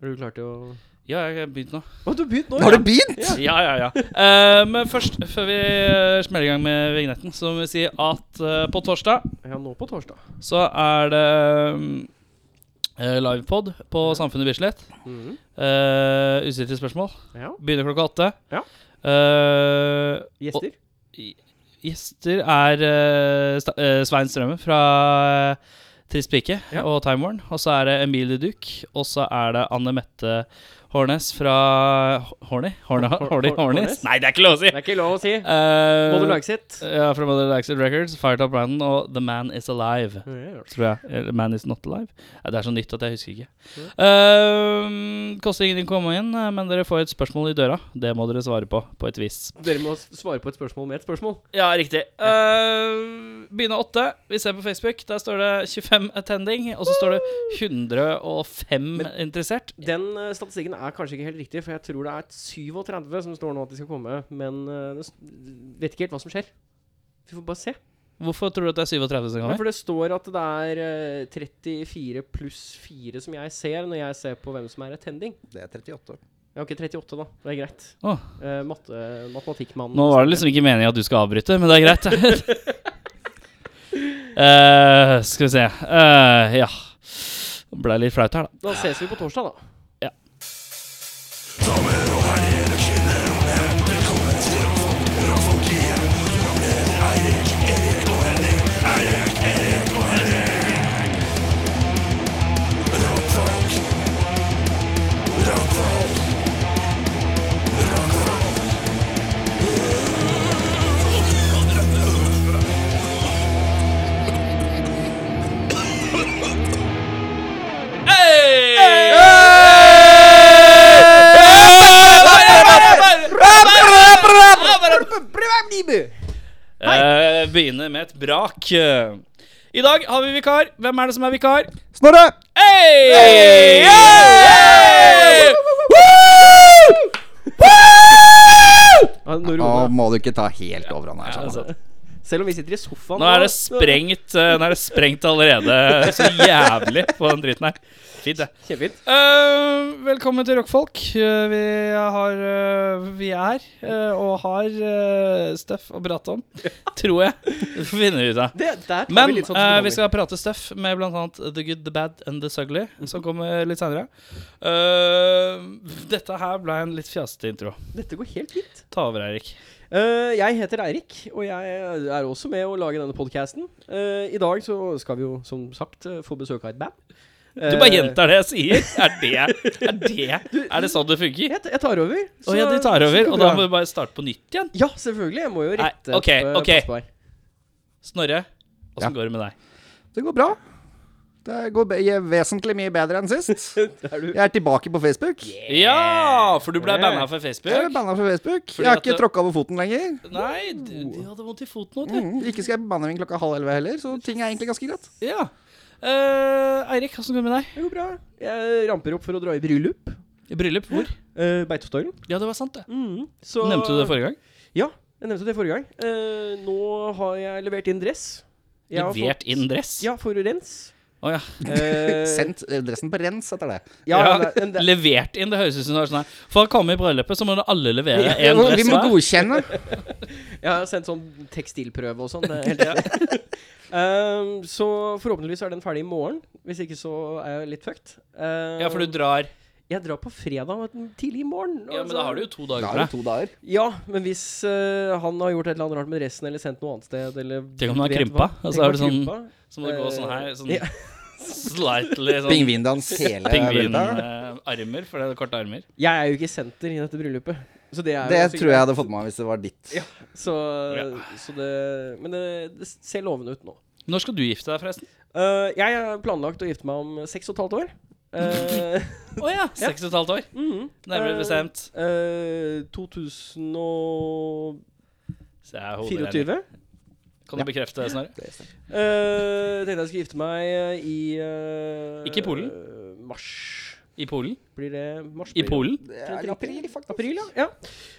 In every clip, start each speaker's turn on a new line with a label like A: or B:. A: Har du klart å
B: Ja, jeg har begynt nå.
A: Å, du begynte nå,
C: Har du begynt?
B: Ja, ja, ja. Eh, men først, før vi eh, smeller i gang med vignetten, så må vi si at eh, på torsdag
A: Ja, nå på torsdag.
B: så er det mm, eh, livepod på Samfunnet Bislett.
A: Mhm.
B: Uh, Ustilte spørsmål.
A: Ja.
B: Begynner klokka åtte.
A: Ja.
B: Eh,
A: Gjester?
B: Gjester er eh, Sta- eh, Svein Strømme fra uh, Trist pike
A: Ja.
B: og Time Warn. Og så er det Emilie Duck. Og så er det Anne Mette Hårnes fra Horny? Horny?
A: Hor-
B: Horny?
A: Hor-
B: Hornes?
A: Hornes?
B: Nei, det er ikke lov å si!
A: Det er ikke lov å si.
B: Eh,
A: Både lagsitt
B: Ja, fra Mother Laxed Records, Firetop Brandon og The Man Is Alive. Tror jeg. Eller Man Is Not Alive. Ja, det er så nytt at jeg husker ikke. Eh, koster ingenting å komme inn, eh, men dere får et spørsmål i døra. Det må dere svare på, på et vis.
A: Dere må svare på et spørsmål med et spørsmål.
B: Ja, riktig. Uh, Begynne åtte. Vi ser på Facebook. Der står det 25 attending, og så står det 105 interessert.
A: Den eh, statistikken er kanskje ikke helt riktig, for jeg tror det er 37 som står nå at de skal komme, men eh, det s- vet ikke helt hva som skjer. Vi får bare se.
B: Hvorfor tror du at det er 37 som
A: Ja,
B: kommer?
A: for det står at det er eh, 34 pluss 4 som jeg ser, når jeg ser på hvem som er attending.
C: Det er 38.
A: Jeg har ikke 38, da. Det er greit.
B: Åh.
A: Eh, matte, matematikkmannen
B: Nå var det liksom ikke meningen at du skal avbryte, men det er greit. Eh, skal vi se Eh, Ja. Det ble litt flaut her, da.
A: Da ses vi på torsdag, da.
B: Eh, Begynner med et brak. I dag har vi vikar. Hvem er det som er vikar?
C: Snorre!
B: Hey! Hey!
A: Ja, når
C: Nå
A: Rune-
C: må du ikke ta helt over han her.
B: Ja, altså.
C: Sånn.
A: Selv om vi sitter i sofaen
B: Nå er det sprengt eh, Nå er det sprengt allerede så jævlig på den driten her. Fint, det.
A: Kjempefint.
B: Eh, velkommen til Rockfolk. Eh, vi har eh, Vi er eh, og har eh, Steff og prat om, tror jeg. Det finner vi ut av.
A: Det, der tar
B: Men
A: vi litt sånn
B: eh,
A: som
B: vi skal prate Steff med blant annet The Good, The Bad and The Sugly, som kommer litt seinere. dette her ble en litt fjasete intro.
A: Dette går helt fint.
B: Ta over, Eirik.
A: Eh, jeg heter Eirik, og jeg er også med å lage denne podkasten. I dag så skal vi jo, som sagt, eh, få besøk av et band. Eh,
B: Du bare gjentar det jeg sier. Er det Er det, er det sånn det funker?
A: Jeg, jeg tar over.
B: Å ja, de tar
A: så
B: over,
A: går
B: og da
A: bra.
B: må vi bare starte på nytt igjen.
A: Ja, selvfølgelig. Jeg må jo
B: Nei,
A: rette
B: ok,
A: opp eh,
B: ok.
A: passbar.
B: Snorre,
C: Ja.
B: åssen går det med deg?
C: Det går bra. Det går be vesentlig mye bedre enn sist.
A: Det er du.
C: Jeg er tilbake på Facebook.
B: Ja, for du ble
A: Yeah.
B: banna
C: Jeg
B: fra
C: er
B: Facebook?
C: banna fra Facebook.
B: Fordi
C: jeg har
B: at
C: ikke
B: det-
C: tråkka over foten lenger.
B: Nei, de, de hadde vondt i foten òg, de.
C: Mm. Ikke skal jeg bemanne min klokka halv elleve heller, så ting er egentlig ganske greit.
B: Ja. Eh, Eirik, åssen går det med deg?
A: Det går bra. Jeg ramper opp for å dra i bryllup.
B: I bryllup? Hvor?
A: Uh, Beitostølen.
B: Ja, det var sant, det.
A: Mm, så-
B: Nevnte du det forrige gang?
A: Ja, jeg nevnte det forrige gang. Eh, nå har jeg levert inn dress. Jeg har
B: Levert
A: fått-
B: inn dress?
A: Ja, for rens.
B: Å, ja.
A: Eh,
C: Sendt eh, dressen på rens etter det.
A: ja,
B: Ja,
A: men det- men det-
B: Levert inn, det høres ut som det er sånn her. For å komme i bryllupet, så må du alle levere
C: Vi
B: én
C: må,
B: dress
C: vi må
B: hver.
C: godkjenne.
A: Jeg har sendt sånn tekstilprøve og sånn. det er Helt riktig. Ehm, så forhåpentligvis er den ferdig i morgen. Hvis ikke så er jeg litt fucked. Ehm,
B: Ja, for du drar
A: Jeg drar på fredag vet du, tidlig i morgen.
B: Ja, men
A: altså.
B: da har du jo to dager
C: Da
B: på
C: er det
B: deg.
C: to dager.
A: Ja, men hvis eh, han har gjort et eller annet rart med dressen, eller sendt noe annet sted, eller
B: Tenk om han har
A: vet
B: krympa,
A: hva.
B: og
A: Tenk
B: så
A: om
B: er det
A: han
B: sånn-
A: krympa.
B: Så må du gå sånn her, sånn
A: Eh, Ja.
B: slightly sånn
C: Pingvindans hele bryllupet.
B: Pingvinarmer, for det er korte armer.
A: Jeg er jo ikke senter i dette bryllupet. Så det er
C: Det
A: jo ganske
C: tror jeg
A: greit.
C: hadde fått med meg hvis det var ditt.
A: Ja. Så,
B: Ja.
A: så det Men det, det ser lovende ut nå.
B: Når skal du gifte deg, forresten?
A: Eh, jeg har planlagt å gifte meg om seks og et halvt år. Eh,
B: Å ja, seks og et halvt år.
A: mhm.
B: Nærmere
A: Eh,
B: bestemt.
A: eh, 2024.
B: Så jeg er hoderegner. Kan du bekrefte det, Snorre?
A: Eh, tenkte jeg skulle gifte meg i eh,
B: Ikke i Polen?
A: eh, mars.
B: I Polen?
A: Blir det mars?
B: I
A: blir det?
B: Polen?
C: Det
A: Tror jeg
C: er
A: det
C: april,
A: riktig.
C: faktisk.
A: April, ja. ja.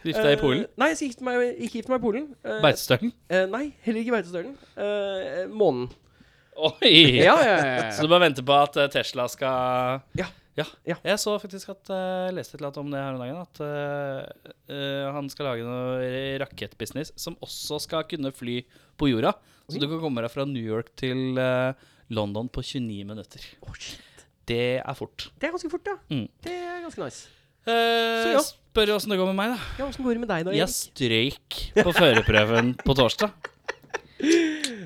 B: Gifte deg i
A: Eh,
B: Polen?
A: Nei, jeg skal gifte meg, ikke gifte meg i Polen. Eh,
B: Beitestølen?
A: eh, nei, heller ikke Beitostølen. Eh, månen.
B: Oi!
A: Ja, ja, ja, ja.
B: Så du bare venter på at eh, Tesla skal
A: Ja.
B: Jeg så faktisk at eh, jeg leste et eller annet om det her om dagen. At eh, eh, han skal lage noe rakettbusiness som også skal kunne fly på jorda. Så du kan komme deg fra New York til eh, London på 29 minutter.
A: Å, shit.
B: Det er fort.
A: Det er ganske fort, ja.
B: Mm.
A: Det er ganske nice.
B: Eh,
A: Så ja.
B: Spør åssen det går med meg, da.
A: Ja, Åssen går det med deg da,
B: Jeg
A: Erik?
B: strøyk på førerprøven på torsdag.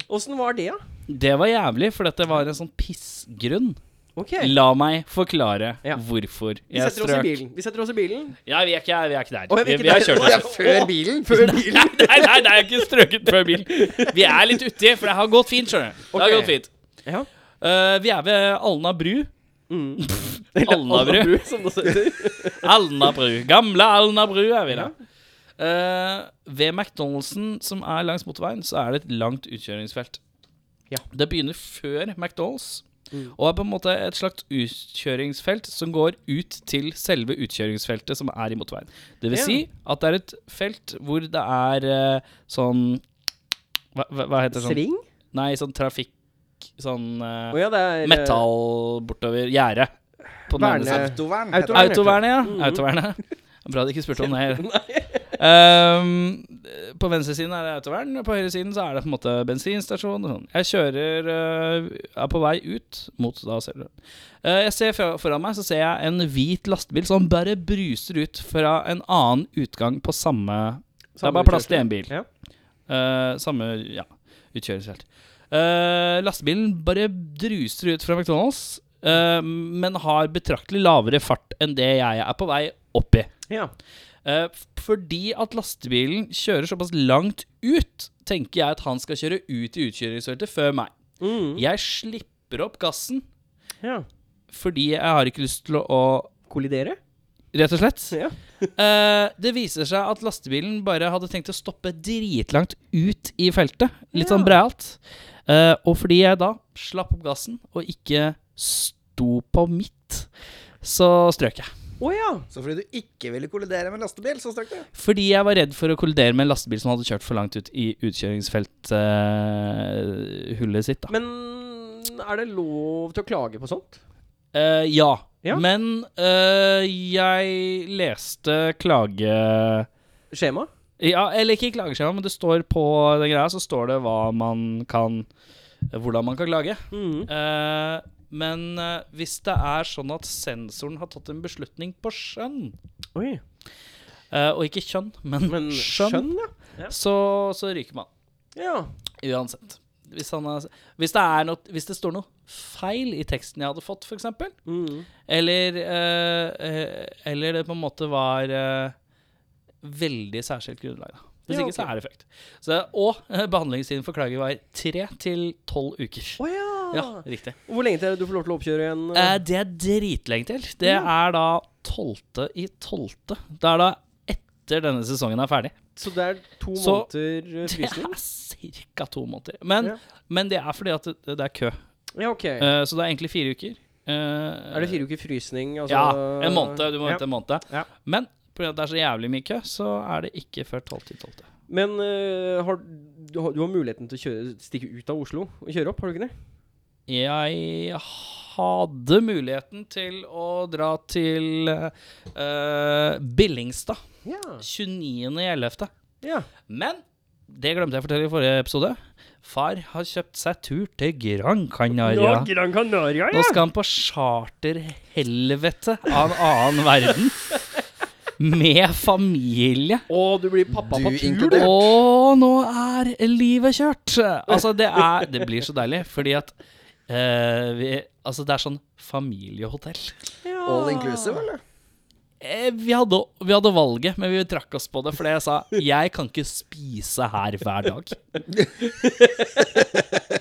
A: Åssen var det, da?
B: Det var jævlig, for dette var en sånn pissgrunn.
A: Ok.
B: La meg forklare
A: Ja.
B: hvorfor
A: Vi
B: jeg
A: setter oss i
B: strøk.
A: bilen. Vi setter oss i bilen.
B: Ja, vi er ikke, vi er ikke der.
A: Å, ja, vi
B: vi,
A: er ikke
B: vi har
A: der.
B: kjørt
A: Å,
B: oss
A: ja.
C: Ja, før bilen.
A: Før bilen.
B: Nei, nei, nei, jeg har ikke strøket før bil. Vi er litt uti, for det har gått fint, skjønner du. Det har
A: Ok.
B: gått fint.
A: Ja.
B: Eh, vi er ved Alna bru.
A: Mm.
B: Alnabru.
A: Alnabru, som det heter.
B: Alna bru. Gamle Alna bru er vi da. Eh, ved McDonald'sen, som er langs motorveien, så er det et langt utkjøringsfelt.
A: Ja.
B: Det begynner før McDonald's,
A: Mm.
B: og er på en måte et slags utkjøringsfelt som går ut til selve utkjøringsfeltet som er i motorveien. Det vil
A: Ja.
B: si at det er et felt hvor det er eh, sånn hva, hva hva heter det? Sånn?
A: Sving?
B: Nei, sånn trafikk Sånn eh,
A: Å ja, det er eh,
B: metall bortover gjerdet. På den ene
A: Verne-
B: siden.
C: Autovern.
A: Autovern.
C: heter det.
B: Autovernet, ja.
A: Mhm.
B: Autovernet. Bra du ikke spurte om det.
A: Nei.
B: Um, på venstresiden er det autovern, og på høyresiden så er det på en måte bensinstasjon. Og sånn. jeg kjører eh, Er på vei ut mot da ser du. Eh, jeg ser fra, foran meg så ser jeg en hvit lastebil som bare bruser ut fra en annen utgang på samme, Det
A: Samme
B: er bare plass til én bil.
A: Ja.
B: Eh, samme ja, utkjøringsfelt. Eh, lastebilen bare druser ut fra McDonald's, eh, men har betraktelig lavere fart enn det jeg er på vei opp i.
A: Ja.
B: Eh, f- fordi at lastebilen kjører såpass langt ut, tenker jeg at han skal kjøre ut i utkjøringsfeltet før meg.
A: Mm.
B: Jeg slipper opp gassen
A: ja.
B: fordi jeg har ikke lyst til å, å
A: Kollidere?
B: Rett og slett.
A: Ja.
B: Eh, det viser seg at lastebilen bare hadde tenkt å stoppe dritlangt ut i feltet. Litt sånn brealt. Eh, og fordi jeg da slapp opp gassen og ikke sto på mitt, så strøk jeg.
A: Å ja.
C: Så fordi du ikke ville kollidere med lastebil, så strøk du?
B: Fordi jeg var redd for å kollidere med en lastebil som hadde kjørt for langt ut i utkjøringsfelthullet sitt. Da.
A: Men er det lov til å klage på sånt?
B: Eh, ja.
A: Ja.
B: Men eh, jeg leste klage...
A: Skjema?
B: Ja, eller ikke i klageskjema, men det står på den greia så står det hva man kan Hvordan man kan klage.
A: Mm.
B: Eh, men eh, hvis det er sånn at sensoren har tatt en beslutning på skjønn,
A: Oi.
B: eh, og ikke kjønn, men,
A: Men
B: skjønn,
A: skjønn, ja.
B: Så, så ryker man.
A: Ja.
B: Uansett. Hvis, han er, hvis, det er noe, hvis det står noe feil i teksten jeg hadde fått, f.eks.,
A: Mm.
B: eller, eh, eh, eller det på en måte var eh, veldig særskilt grunnlag. Da. Hvis
A: Ja,
B: ikke, så
A: ok.
B: er det fucked. Så, og eh, behandlingstiden for klager var tre til tolv uker.
A: Å ja.
B: Ja, riktig.
A: Hvor lenge til er det du får lov til å oppkjøre igjen?
B: Eh, det er dritlenge til. Det er da tolvte i tolvte. Det er da etter denne sesongen er ferdig.
A: så det er to
B: så-
A: måneder eh,
B: Det
A: frysning?
B: er ca. to måneder. Men,
A: Ja.
B: men det er fordi at det, det er kø.
A: Ja, ok.
B: Eh, så det er egentlig fire uker. Eh,
A: Er det fire uker frysning? Altså,
B: ja, en måned. Du må
A: ja.
B: vente en måned.
A: Ja.
B: Men pga. at det er så jævlig mye kø, så er det ikke før 12 til 12.
A: Men eh, har, du, har, du har muligheten til å kjøre, stikke ut av Oslo og kjøre opp, har du ikke det?
B: Jeg hadde muligheten til å dra til eh, Billingstad
A: Ja.
B: 29.11.,
A: ja.
B: men det glemte jeg å fortelle i forrige episode. Far har kjøpt seg tur til Gran Canaria.
A: Gran Canaria,
B: Nå skal han på charterhelvete av en annen verden. Med familie.
A: Å, du blir pappa
C: Du
A: på tur, du.
C: inkludert.
B: Å, nå er livet kjørt! Altså, det er Det blir så deilig, fordi at eh, vi, Altså, det er sånn familiehotell.
A: Ja.
C: All inclusive, eller?
B: Eh, vi, hadde, vi hadde valget, men vi trakk oss på det fordi jeg sa jeg kan ikke spise her hver dag.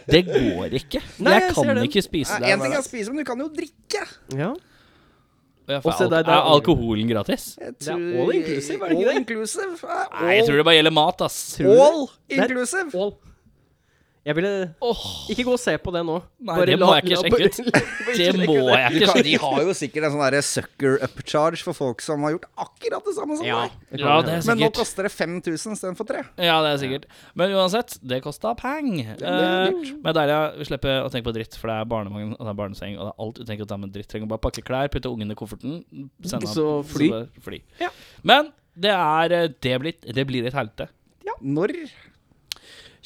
B: Det går ikke.
A: Nei, jeg
B: jeg
A: ser
B: kan
A: den.
B: ikke spise det.
C: Én ting er å spise, men du kan jo drikke.
A: Ja.
B: Er,
A: Og se der, der-
B: er alkoholen gratis?
C: Jeg
A: Det er all inclusive, er det ikke
C: all
A: det?
C: Inclusive.
B: Nei, jeg tror det bare gjelder mat, ass.
A: Tror du
C: All
A: det?
C: inclusive.
A: All. Jeg ville
B: Åh,
A: ikke gå og se på det nå.
B: Nei,
A: Bare
B: det
A: la-
B: må jeg ikke
A: la-
B: sjekke
A: bare-
B: ut.
A: la- bare
B: det
A: sjekke
B: må
A: ut
B: jeg
C: Du
B: ikke
C: kan,
B: sjekke.
C: de har jo sikkert en sånn der sucker upcharge for folk som har gjort akkurat det samme som
A: Ja,
C: deg.
A: det
B: Ja,
A: kan
B: det
A: jeg
B: er
A: gjøre.
C: Men nå
B: sikkert.
C: koster det 5000 istedenfor 3.
B: Ja, det er sikkert. Men uansett, det kosta peng. Eh, men det er deilig å slippe å tenke på dritt, for det er barnevogn og det er barneseng og det er alt du tenker å ta med dritt. Trenger bare pakke klær, putte ungen i kofferten, sende
A: Så
B: opp,
A: fly.
B: så fly.
A: Ja.
B: Men det, er, eh, det, blir, det blir et helvete.
C: Når?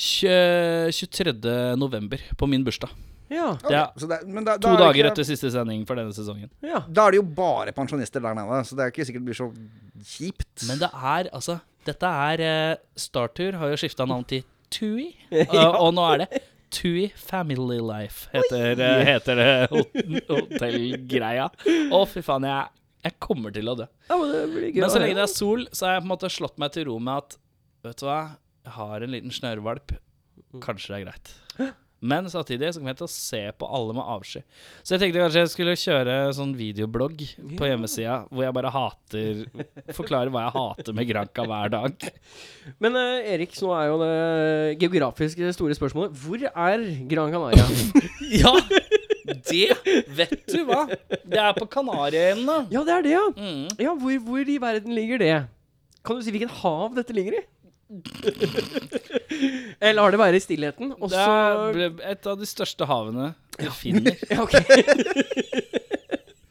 B: Tjue- 23. eh, november, på min bursdag.
A: Ja,
C: Ok,
B: Ja.
C: så det- men da- da
B: To
C: er det
B: dager
C: ikke-
B: etter siste sending for denne sesongen.
A: ja.
C: Da er det jo bare pensjonister der nede, så det er ikke sikkert det blir så kjipt.
B: Men det er altså Dette er eh, Startur har jo skifta navn til Tui, eh, og nå er det Tui Family Life, heter, eh, heter det hot- hotellgreia. Å, fy faen, jeg, jeg kommer til å dø.
A: ja men det blir gøy.
B: Men så lenge det er sol, så har jeg på en måte slått meg til ro med at Vet du hva, jeg har en liten snørrvalp. Kanskje det er greit. Men samtidig så kommer jeg til å se på alle med avsky. Så jeg tenkte kanskje jeg skulle kjøre sånn videoblogg på hjemmesida hvor jeg bare hater Forklarer hva jeg hater med Granca hver dag.
A: Men eh, Erik, så nå er jo det geografisk store spørsmålet. Hvor er Gran Canaria?
B: Ja! Det vet du hva! Det er på Kanariøyene.
A: ja, det er det, ja.
B: Mm.
A: Ja, hvor, hvor i verden ligger det? Kan du si hvilken hav dette ligger i? Eller har det vært i stillheten? Og
B: Det
A: så
B: er et av de største havene du finner.
A: ja, ok.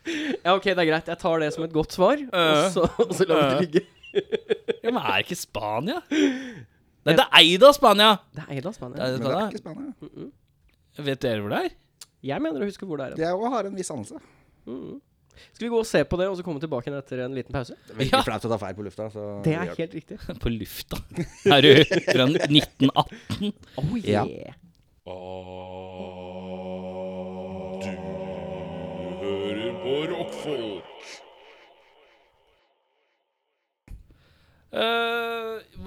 A: ja, ok, det er greit. Jeg tar det som et godt svar,
B: Øh.
A: og så, og så lar vi det ligge.
B: Ja, men er ikke Spania? Nei, det er eid av Spania!
A: Det er Eida, Spania.
B: Det er-
C: Men det er ikke spennende.
B: Vet dere hvor det er?
A: Jeg mener å huske hvor det er.
C: Jeg òg har en viss anelse.
A: Skal vi gå og se på det, og så komme tilbake igjen etter en liten pause?
C: Det er veldig
B: Ja.
C: flaut å ta feil på lufta. Så
A: Det er helt riktig.
B: På lufta. Er du fra 1918?
A: Oh,
C: Ja.
A: yeah.
D: hører på rockfolk.
B: Eh,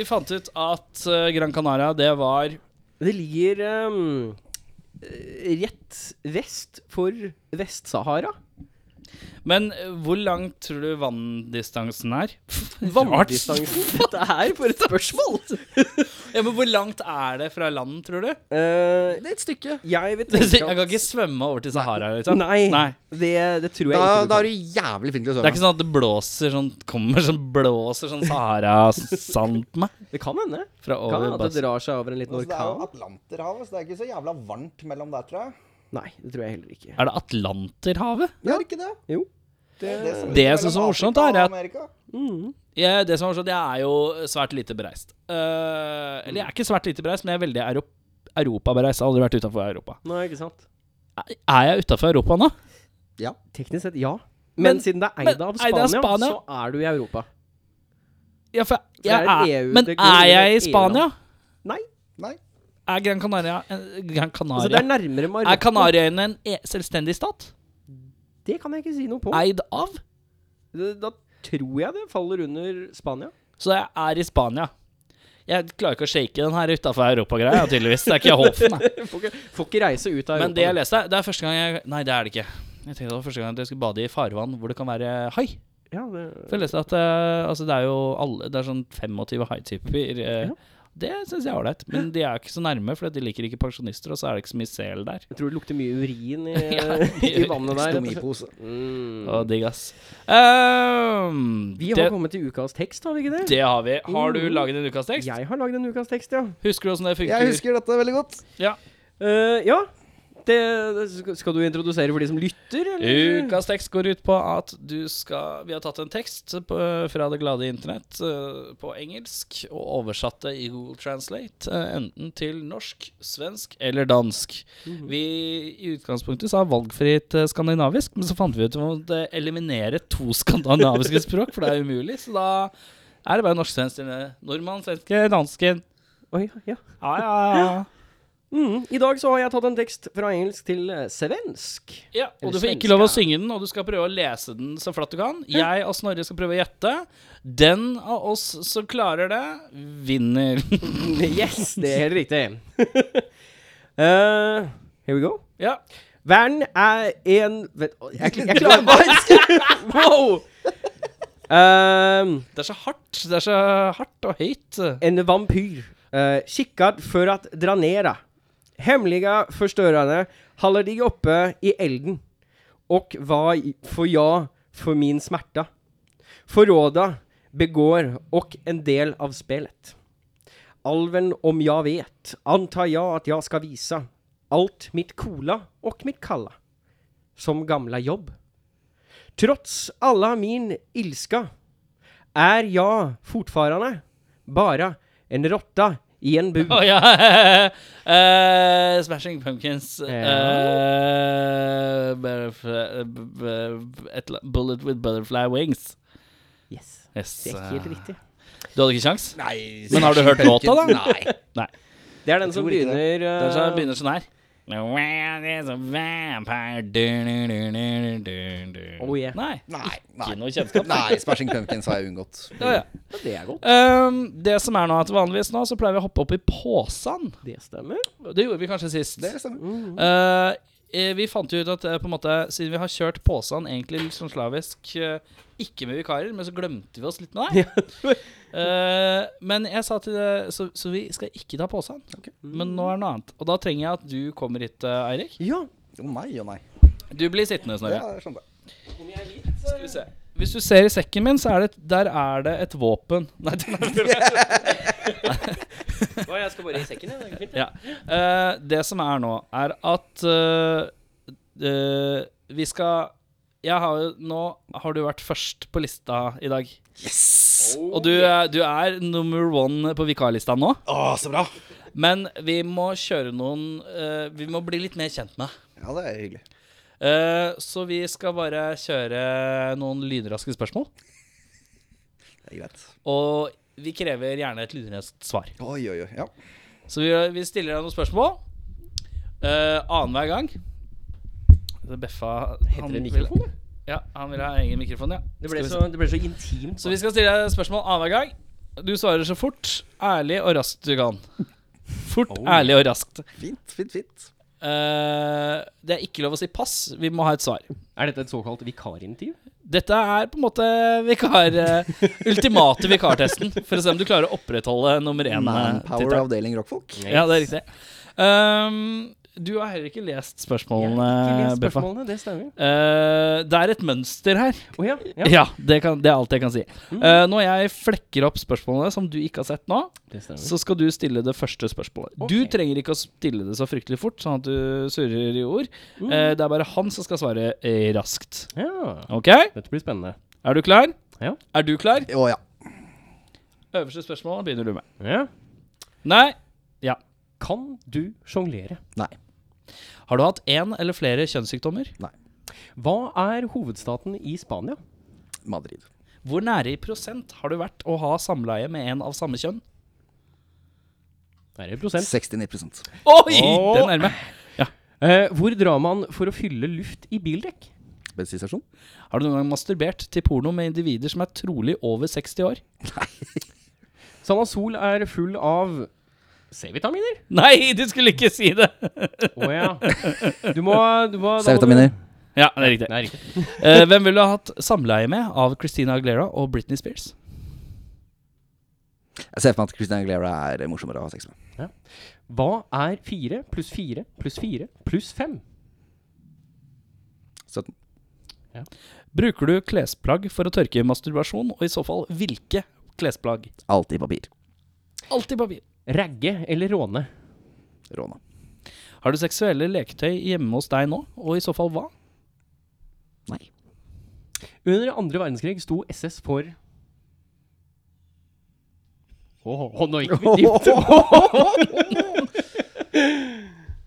B: vi fant ut at eh, Gran Canaria, det var
A: Det ligger ehm, eh, rett vest for Vest-Sahara.
B: Men eh, hvor langt tror du vanndistansen er?
A: Vanndistansen. Dette er for et spørsmål!
B: Ja, men hvor langt er det fra land, tror du?
A: Eh,
C: Det er et stykke.
A: jeg vil
B: Jeg
A: tenke
B: kan ikke svømme over til Sahara, liksom.
A: Nei,
B: Nei.
A: Det, det tror jeg
C: Da,
A: ikke. du
C: da
A: kan.
C: er du jævlig flink til å
B: Det er ikke
C: sove.
B: sånn at det blåser sånn Kommer sånn blåser sånn Sahara-sand på meg
A: Det kan hende.
B: fra
A: Kan hende at
B: over
A: Altså, det
B: bassen.
A: drar seg over en liten
E: Altså,
A: orkan.
C: Atlanterhavet, så det er ikke så jævla varmt mellom der, tror jeg.
A: Nei, det tror jeg heller ikke.
B: Er det Atlanterhavet?
C: Ja. Er det ikke det?
A: Jo.
C: Det,
B: Det jeg synes var morsomt, er at-
C: Amerika.
B: Jeg, det som er morsomt, jeg er jo svært lite bereist. Eh, eller jeg er ikke svært lite bereist, men jeg er veldig europ europabereist. Jeg har aldri vært utafor Europa.
A: Nei, ikke sant?
B: Er- Er jeg utafor Europa nå?
C: Ja.
A: Teknisk sett, ja. Men,
B: Men-
A: siden det er
B: men
A: eid av
B: eid
A: Spania,
B: av Spania.
A: så er du i Europa.
B: Ja, for jeg,
A: det er
B: jeg
A: EU,
B: er, men
A: det går
B: er jeg i
A: under E
B: Spania?
C: Nei.
B: Er Gran Canaria en, Gran
A: Altså, det
B: Canaria
A: er nærmere
B: Er
A: Marokko.
B: Kanariøyene en e selvstendig stat?
A: Det kan jeg ikke si noe på.
B: Eid av?
A: Det- Da tror jeg det faller under Spania.
B: Så jeg er i Spania. Jeg klarer ikke å shake den her utafor Europa-greia, tydeligvis. Det er ikke Hoffen, nei.
A: Får ikke, får ikke reise ut av Europa.
B: Men det jeg leste, det er første gang jeg Nei, det er det ikke. Jeg tenkte det var første gang at jeg skulle bade i farvann hvor det kan være hai.
A: Ja, det
B: For jeg leste at eh, altså det er jo alle, det er sånn 25 haityper. eh, Det syns jeg er ålreit. Men de er jo ikke så nærme, for de liker ikke pensjonister, og så er det ikke så mye sel der.
A: Jeg tror det lukter mye urin i,
B: Ja.
A: i vannet der. rett og
C: Stomipose.
A: slett. Mm.
B: Og digg, ass. Ehm,
A: Vi har
B: det,
A: kommet til ukas tekst, har vi ikke det?
B: det har vi. Har du laget en ukas tekst?
A: Jeg har lagd en ukas tekst, ja.
B: Husker du åssen det funker?
C: Jeg husker dette veldig godt.
B: Ja.
A: Eh, ja. Det, det sk- skal du introdusere for de som lytter, eller?
B: Ukas tekst går ut på at du skal Vi har tatt en tekst på, fra det glade internett eh, på engelsk og oversatt det i Google Translate eh, enten til norsk, svensk eller dansk. Vi i utgangspunktet sa valgfritt eh, skandinavisk, men så fant vi ut at vi måtte eliminere to skandinaviske språk, for det er umulig. Så da er det bare norsk, svensk, eller nordmann, svenske, dansken.
A: Oi, ja.
B: Ja, ja, ja.
A: mm. I dag så har jeg tatt en tekst fra engelsk til eh, svensk.
B: Ja, og
A: Eller
B: du får ikke
A: svenska.
B: lov å synge den, og du skal prøve å lese den så flatt du kan. Jeg og Snorre skal prøve å gjette. Den av oss som klarer det, vinner.
A: Yes, det er helt riktig. Eh, here we go.
B: ja.
A: Vern er en Vent, å, jeg, kl- jeg klarer bare Wow! Ehm,
B: Det er så hardt. Det er så hardt og høyt.
A: en vampyr Eh, kikkad för att dra nera. Hemliga förstörare håller dig uppe i elden. Och vad får jag för min smärta? Förråda, begår och en del av spelet. Alven om jag vet, antar jag att jag ska visa allt mitt coola och mitt kalla som gamla jobb. Trots alla min ilska är jag fortfarande bara en råtta i en bur.
B: Å ja! Eh, Smashing Pumpkins.
A: Ja.
B: eh, butterfly- b- b- et eller annet- bullet with butterfly wings.
A: Yes,
B: Yes.
A: det er helt riktig.
B: Du hadde ikke kjangs?
E: Nei,
B: Men har du hørt låta, da?
E: Nei.
A: Det er den som
E: tror ikke det.
A: begynner
B: Den som
A: eh,
B: begynner sånn her. The world is a vampire du-du-du-du-du-du.
A: Oh, yeah.
B: Nei.
E: Nei,
B: Ikke
E: nei.
B: noe kjennskap.
E: nei Smashing Pumpkins har jeg unngått.
B: Ja, ja.
A: ja, Det er godt.
B: Ehm, det som er nå at vanligvis nå, så pleier vi å hoppe opp i påsen.
A: Det stemmer.
B: Det gjorde vi kanskje sist.
E: Det stemmer.
B: Eh, eh, vi fant jo ut at eh, på en måte, siden vi har kjørt påsen egentlig litt sånn slavisk, eh, ikke med vikarer, men så glemte vi oss litt med deg. Eh, men jeg sa til deg, så, så vi skal ikke ta påsen. Men nå er det noe annet. Og da trenger jeg at du kommer hit, eh, Eirik.
A: Ja.
E: Å nei, å nei.
B: Du blir sittende, Snorre.
E: Ja, jeg skjønner det.
B: Skal vi se. Hvis du ser i sekken min, så er det, der er det et våpen. Nei, det er
A: Å, jeg skal bare i sekken, jeg. Det er fint.
B: Ja. Eh, det som er nå, er at eh, eh, vi skal jeg har, jo- Nå har du vært først på lista i dag. Yes! Og du, er- du er nummer one på vikarlista nå.
E: Å, så bra.
B: Men vi må kjøre noen eh, Vi må bli litt mer kjent med deg.
E: Ja, det er hyggelig.
B: Eh, så vi skal bare kjøre noen lynraske spørsmål.
E: Det er greit.
B: Og vi krever gjerne et lynraskt svar.
E: Oi, oi, oi. Ja.
B: Så vi, vi stiller deg noen spørsmål. Uh, Annenhver gang. Så Beffa han
A: Heter det
B: vil-
A: mikrofon? det?
B: Ja, han vil ha egen mikrofon, ja.
A: Det ble,
B: Skal vi
A: så,
B: se.
A: det ble så intimt.
B: så vi skal stille deg spørsmål annenhver gang. Du svarer så fort, ærlig og raskt du kan. Fort, ærlig og raskt.
E: Fint, fint, fint.
B: Eh, det er ikke lov å si pass. Vi må ha et svar.
A: Er dette et såkalt vikarintervju?
B: Dette er på en måte vikar, eh, ultimate vikartesten, for å se om du klarer å opprettholde nummer én. eh, tittelen.
E: Manpower avdeling rockfolk.
B: Ja, det er riktig. Ehm, du har heller ikke lest spørsmålene,
A: eh,
B: Beffa.
A: spørsmålene, det stemmer.
B: Eh, det er et mønster her.
A: Å ja.
B: Ja,
A: ja. Mm.
B: det, kan, det er alt jeg kan si. Eh, når jeg flekker opp spørsmålene som du ikke har sett nå,
A: Det stemmer.
B: så skal du stille det første spørsmålet.
A: Mm. Ok.
B: Du trenger ikke å stille det så fryktelig fort, sånn at du surrer i ord.
A: Mm.
B: Eh, det er bare han som skal svare eh, raskt.
A: Ja.
B: OK? Er
A: Dette blir spennende.
B: du klar?
A: Ja.
B: Er du klar?
E: Å ja.
B: Øverste spørsmål begynner du med.
A: ja.
B: Nei.
A: Kan du sjonglere?
E: Nei.
B: Har du hatt én eller flere kjønnssykdommer?
A: Hva er hovedstaten i Spania?
E: Madrid.
B: Hvor nære i prosent har du vært å ha samleie med en av samme kjønn?
A: Er det prosent?
E: 69
B: Oi!
A: Åh!
B: Den nærme.
A: Eh, hvor drar man for å fylle luft i bildekk?
E: Bensinstasjon?
B: Har du noen gang masturbert til porno med individer som er trolig over 60 år?
A: Sanasol er full av C-vitaminer.
B: Nei, du skulle ikke si det!
A: Å ja. Du må, du må da må du-
E: C-vitaminer.
B: Ja, det er riktig.
A: Det er riktig.
B: Eh, hvem ville du ha hatt samleie med av Christina Aguilera og Britney Spears?
E: Jeg ser for meg at Christian Aguilera er morsommere å ha sex med.
A: Hva er fire pluss fire pluss fire pluss fem?
E: 17.
B: Bruker du klesplagg for å tørke masturbasjon, og i så fall hvilke klesplagg?
E: Alltid papir.
B: Alltid papir.
A: Ragge eller råne?
E: Råna.
B: Har du seksuelle leketøy hjemme hos deg nå, og i så fall hva?
E: Nei.
A: Under andre verdenskrig sto SS for Å, å, nå gikk vi dypt.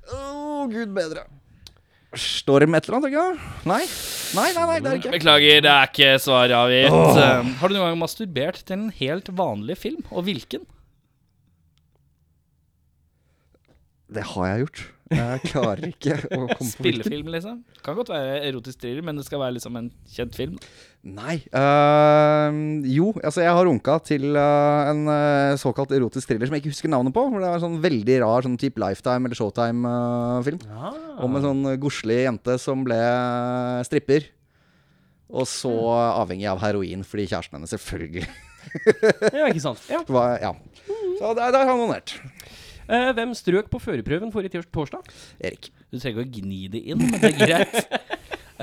E: Å, gud bedre. Storm et eller annet, tenker jeg. Nei. Nei, nei, nei, det er det ikke.
B: Beklager, det er ikke svaret avgitt. Eh, Har du noen gang masturbert til en helt vanlig film, og hvilken?
E: Det har jeg gjort. Jeg klarer ikke å komme på hvilken.
B: Spillefilm, liksom? Kan godt være erotisk thriller, men det skal være liksom en kjent film.
E: Nei. øhm, jo, altså jeg har runka til øh, en øh, såkalt erotisk thriller som jeg ikke husker navnet på. Hvor det er en sånn veldig rar sånn type Lifetime eller eh, Showtime-film.
A: Ah,
E: Om en sånn godslig jente som ble stripper. Og så avhengig av heroin fordi kjæresten hennes selvfølgelig
A: Ja, ikke sant. Ja.
E: var Ja. Så der, der har han onanert.
A: Eh, hvem strøk på førerprøven forrige tirs- torsdag?
E: Erik.
B: Du trenger ikke å gni det inn, men det er greit.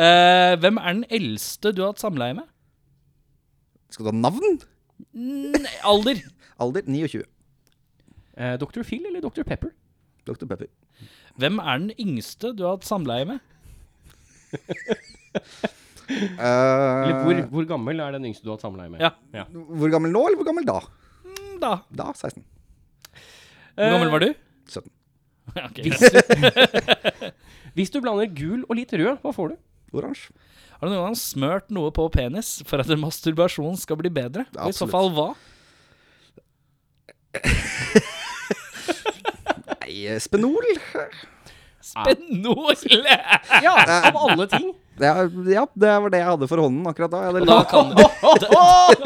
B: Eh, hvem er den eldste du har hatt samleie med?
E: Skal du ha navn?
B: Nei, alder.
E: Alder 29.
A: Eh, Dr. Phil eller Dr. Pepper?
E: Dr. Pepper.
B: Hvem er den yngste du har hatt samleie med?
E: Eh,
A: Eller hvor, hvor gammel er den yngste du har hatt samleie med?
B: Ja.
E: Hvor gammel nå, eller hvor gammel da?
B: Da.
E: Da 16.
B: Hvor gammel var du?
E: 17.
B: Ok.
A: Hvis du blander gul og litt rød, hva får du?
E: Oransje.
B: Har du noen gang smørt noe på penis for at en masturbasjon skal bli bedre? Og I så
E: Absolutt.
B: fall hva?
E: Nei, eh, Spenol?
B: Spenol!
A: Ja, av alle ting!
E: Det er, ja, det var det jeg hadde for hånden akkurat da. Jeg hadde
B: Da
E: lagt-
B: kan du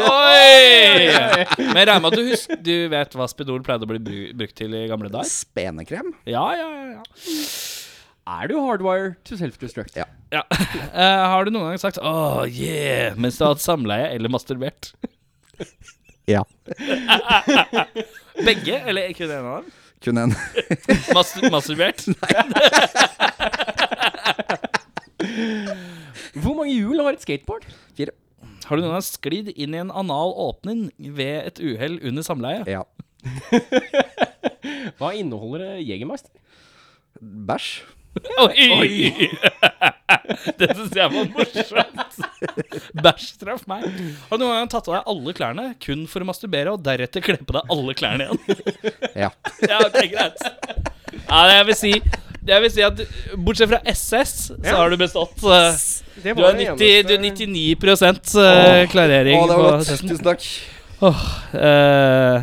B: Oi! Men jeg regner med at du husker Du vet hva Spenol pleide å bli bru- brukt til i gamle dager?
E: Spenekrem?
B: Ja, ja, ja, ja.
A: Er du hardwire to self-destruct?
E: Ja.
B: Ja. Eh, har du noen gang sagt 'oh yeah' mens du har hatt samleie eller masturbert?
E: Ja.
B: Begge, eller kun en av dem?
E: Kun en.
B: Master masturbert?
A: Hvor mange hjul har et skateboard?
E: Fire.
B: Har du noen gang sklidd inn i en anal åpning ved et uhell under samleie?
E: Ja.
A: Hva inneholder eh, Jegermeister?
E: Bæsj?
B: Oi! det syns jeg var morsomt. Bæsj traff meg. Har du noen gang tatt av deg alle klærne kun for å masturbere, og deretter kle på deg alle klærne igjen?
E: Ja.
B: Ja, ok, greit. Ja, det jeg vil si jeg vil si at du- Bortsett fra SS, så har du bestått. eh,
A: Det
B: Du er, 90, du er 99 eh, klarering.
E: Å, det
B: på
E: var godt.
B: testen.
E: Tusen takk.
B: Eh,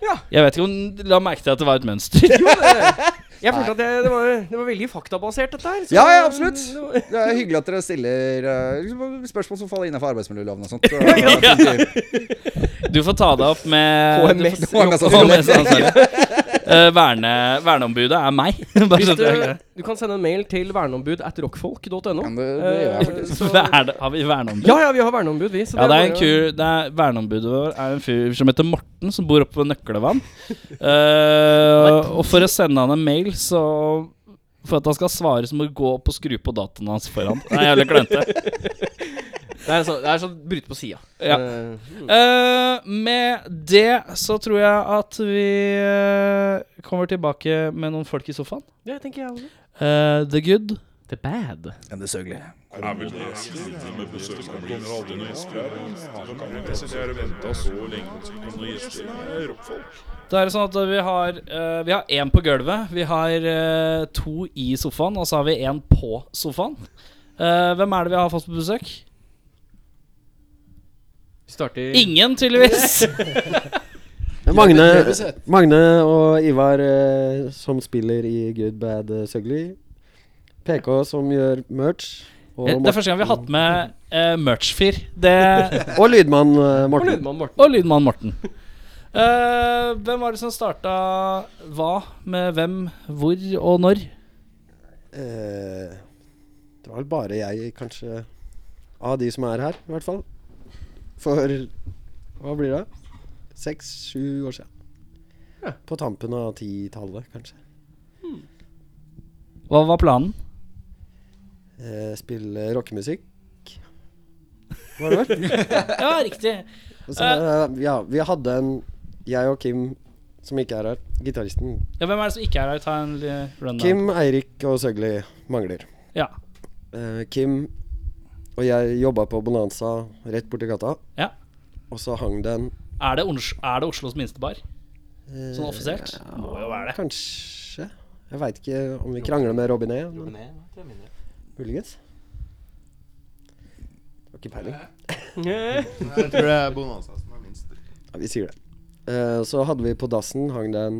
A: Ja.
B: Jeg vet ikke om La merke til at det var et mønster.
A: Jeg følte at det, det, var, det var veldig faktabasert, dette her. så-
E: Ja, ja, absolutt.
A: Det
E: Det er hyggelig at dere stiller eh, liksom, spørsmål som faller innenfor arbeidsmiljøloven og sånt. Så, ja, fint.
B: Du får ta deg opp med
A: HMS.
B: du får-
E: Og en masse
B: HMS, ansvarlig. Eh, verne, verneombudet er meg. Bare så
A: Hvis
B: det er greit.
A: du, du kan sende en mail til verneombud at rockfolk.no.
E: Ja, det- det gjør jeg faktisk.
B: Verne, har vi verneombud?
A: Ja, ja, vi har verneombud, vi. Så
B: Ja, det er en
A: bare-
B: kur, det er, verneombudet vår er en fyr som heter Morten, som bor oppe ved Nøklevann. Eh, og for å sende han en mail, så For at han skal svare, så må du gå opp og skru på dataene hans foran. Det er jævlig klønete.
A: Det er sånn, det er sånn bryte på sida.
B: Ja.
A: Eh,
B: Eh, med det så tror jeg at vi eh, kommer tilbake med noen folk i sofaen.
A: det tenker jeg også.
B: Eh, the Good.
A: The bad.
E: Men det er søgelig.
D: Er vel det siste med besøkende
B: Da er det sånn at vi har eh, Vi har én på gulvet. Vi har eh, to i sofaen, og så har vi én på sofaen. Eh, hvem er det vi har fått på besøk?
A: Vi starter
B: Ingen, tydeligvis.
F: Magne, Magne og Ivar eh, som spiller i Good Bad eh, Søgli. PK som gjør merch. Og,
B: Eh, Det er første gang vi har hatt med eh, merch-fyr. Det-
F: Morten- og lydmann eh,
A: Og
F: Morten.
A: lydmann Morten.
B: Og lydmann Morten. Eh, hvem var det som starta hva med hvem, hvor og når?
F: Eh, det var vel bare jeg, kanskje, av de som er her, i hvert fall. For hva blir det? Seks-sju år siden. På tampen av titallet, kanskje.
B: Hva var planen?
F: Eh, spille rockemusikk. Var det vel?
B: Ja, riktig.
F: Og så, eh, ja, vi hadde en Jeg og Kim, som ikke er her, gitaristen.
B: Ja, hvem er det som ikke er her? Ta en eh, rundown.
F: Kim, Eirik og Søgli mangler.
B: Ja.
F: Eh, Kim og jeg jobba på Bonanza rett borti gata,
B: ja.
F: og så hang det en
B: Er, det Os er det Oslos minste bar? Sånn offisielt? Må jo være det.
F: eh, Kanskje. Jeg veit ikke om vi krangler med Robinet. Men muligens. Det var ikke peiling.
G: Jeg tror det er Bonanza som er minst.
F: Ja, vi sier det. Eh, så hadde vi på dassen hang det en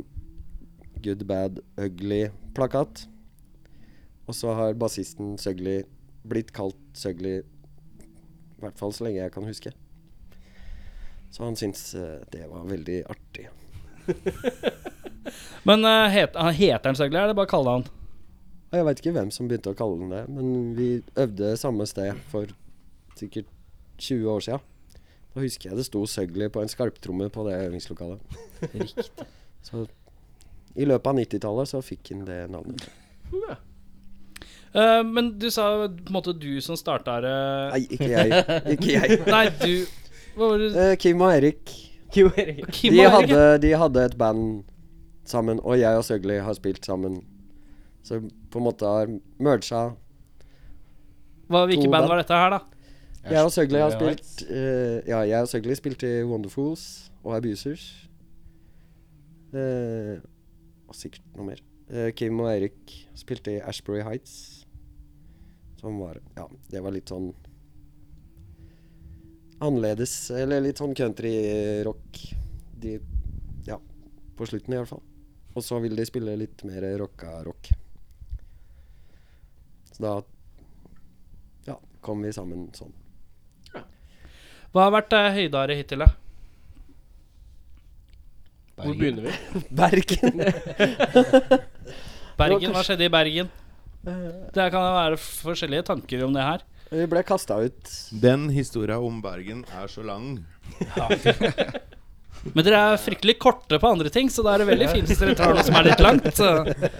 F: Good Bad Ugly-plakat. Og så har bassisten Søgli blitt kalt Søgli i hvert fall så lenge jeg kan huske. Så han syntes eh, det var veldig artig.
B: Men eh, het, han heter han Søgli, eller er det bare å kalle han?
F: Og jeg veit ikke hvem som begynte å kalle den det, men vi øvde samme sted for sikkert 20 år sia. Da husker jeg det sto søgli på en skarptromme på det øvingslokalet. Så i løpet av 90-tallet så fikk han det navnet.
B: Eh, men du sa på en måte du som starta det
F: Nei, ikke jeg. Ikke jeg.
B: Nei, du Hva var det
F: Eh, Kim og Erik,
B: Kim
F: de
B: og Erik?
F: hadde, de hadde et band sammen, og jeg og Søgli har spilt sammen. Så på en måte har merga
B: Hva, hvilke
F: to
B: band
F: band.
B: var dette her, da?
F: Jeg og Søgli har
B: Ja,
F: spilt eh, Ja, jeg og Søgli spilte i Wonderfools og Abusers. Eh, og sikkert noe mer. Eh, Kim og Eirik spilte i Ashbury Heights. Som var Ja, det var litt sånn Annerledes, eller litt sånn countryrock. De Ja, på slutten i hvert fall. Og så ville de spille litt mer rocka rock. Så da Ja, kom vi sammen sånn.
B: Hva har vært eh, høydare hittil, da?
A: Hvor begynner vi?
F: Bergen.
B: Bergen, Hva skjedde i Bergen? Det kan være forskjellige tanker om det her.
F: Vi ble kasta ut.
G: Den historia om Bergen er så lang.
B: Men dere er fryktelig korte på andre ting, så da er det veldig fint hvis dere tar noe som er litt langt. så-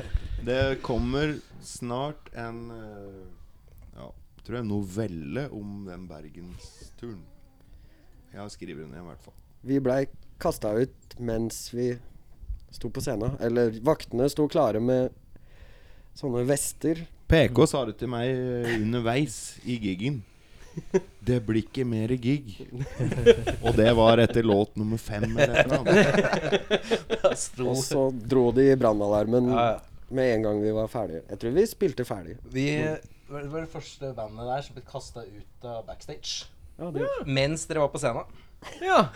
G: Det kommer snart en eh, ja, tror jeg novelle om den bergensturen. Jeg skriver den ned, i hvert fall.
F: Vi blei kasta ut mens vi sto på scenen. Eller vaktene sto klare med sånne vester.
G: PK sa det til meg eh, underveis i gigen. Det blir ikke mer gig. Og det var etter låt nummer fem. Eller et eller annet.
F: Og så dro de i brannalarmen med en gang vi var ferdige. Jeg tror vi spilte ferdig.
H: Vi var det var det første bandet der som ble kasta ut av backstage.
F: Ja, det,
H: Mens dere var på scenen.
A: Ja.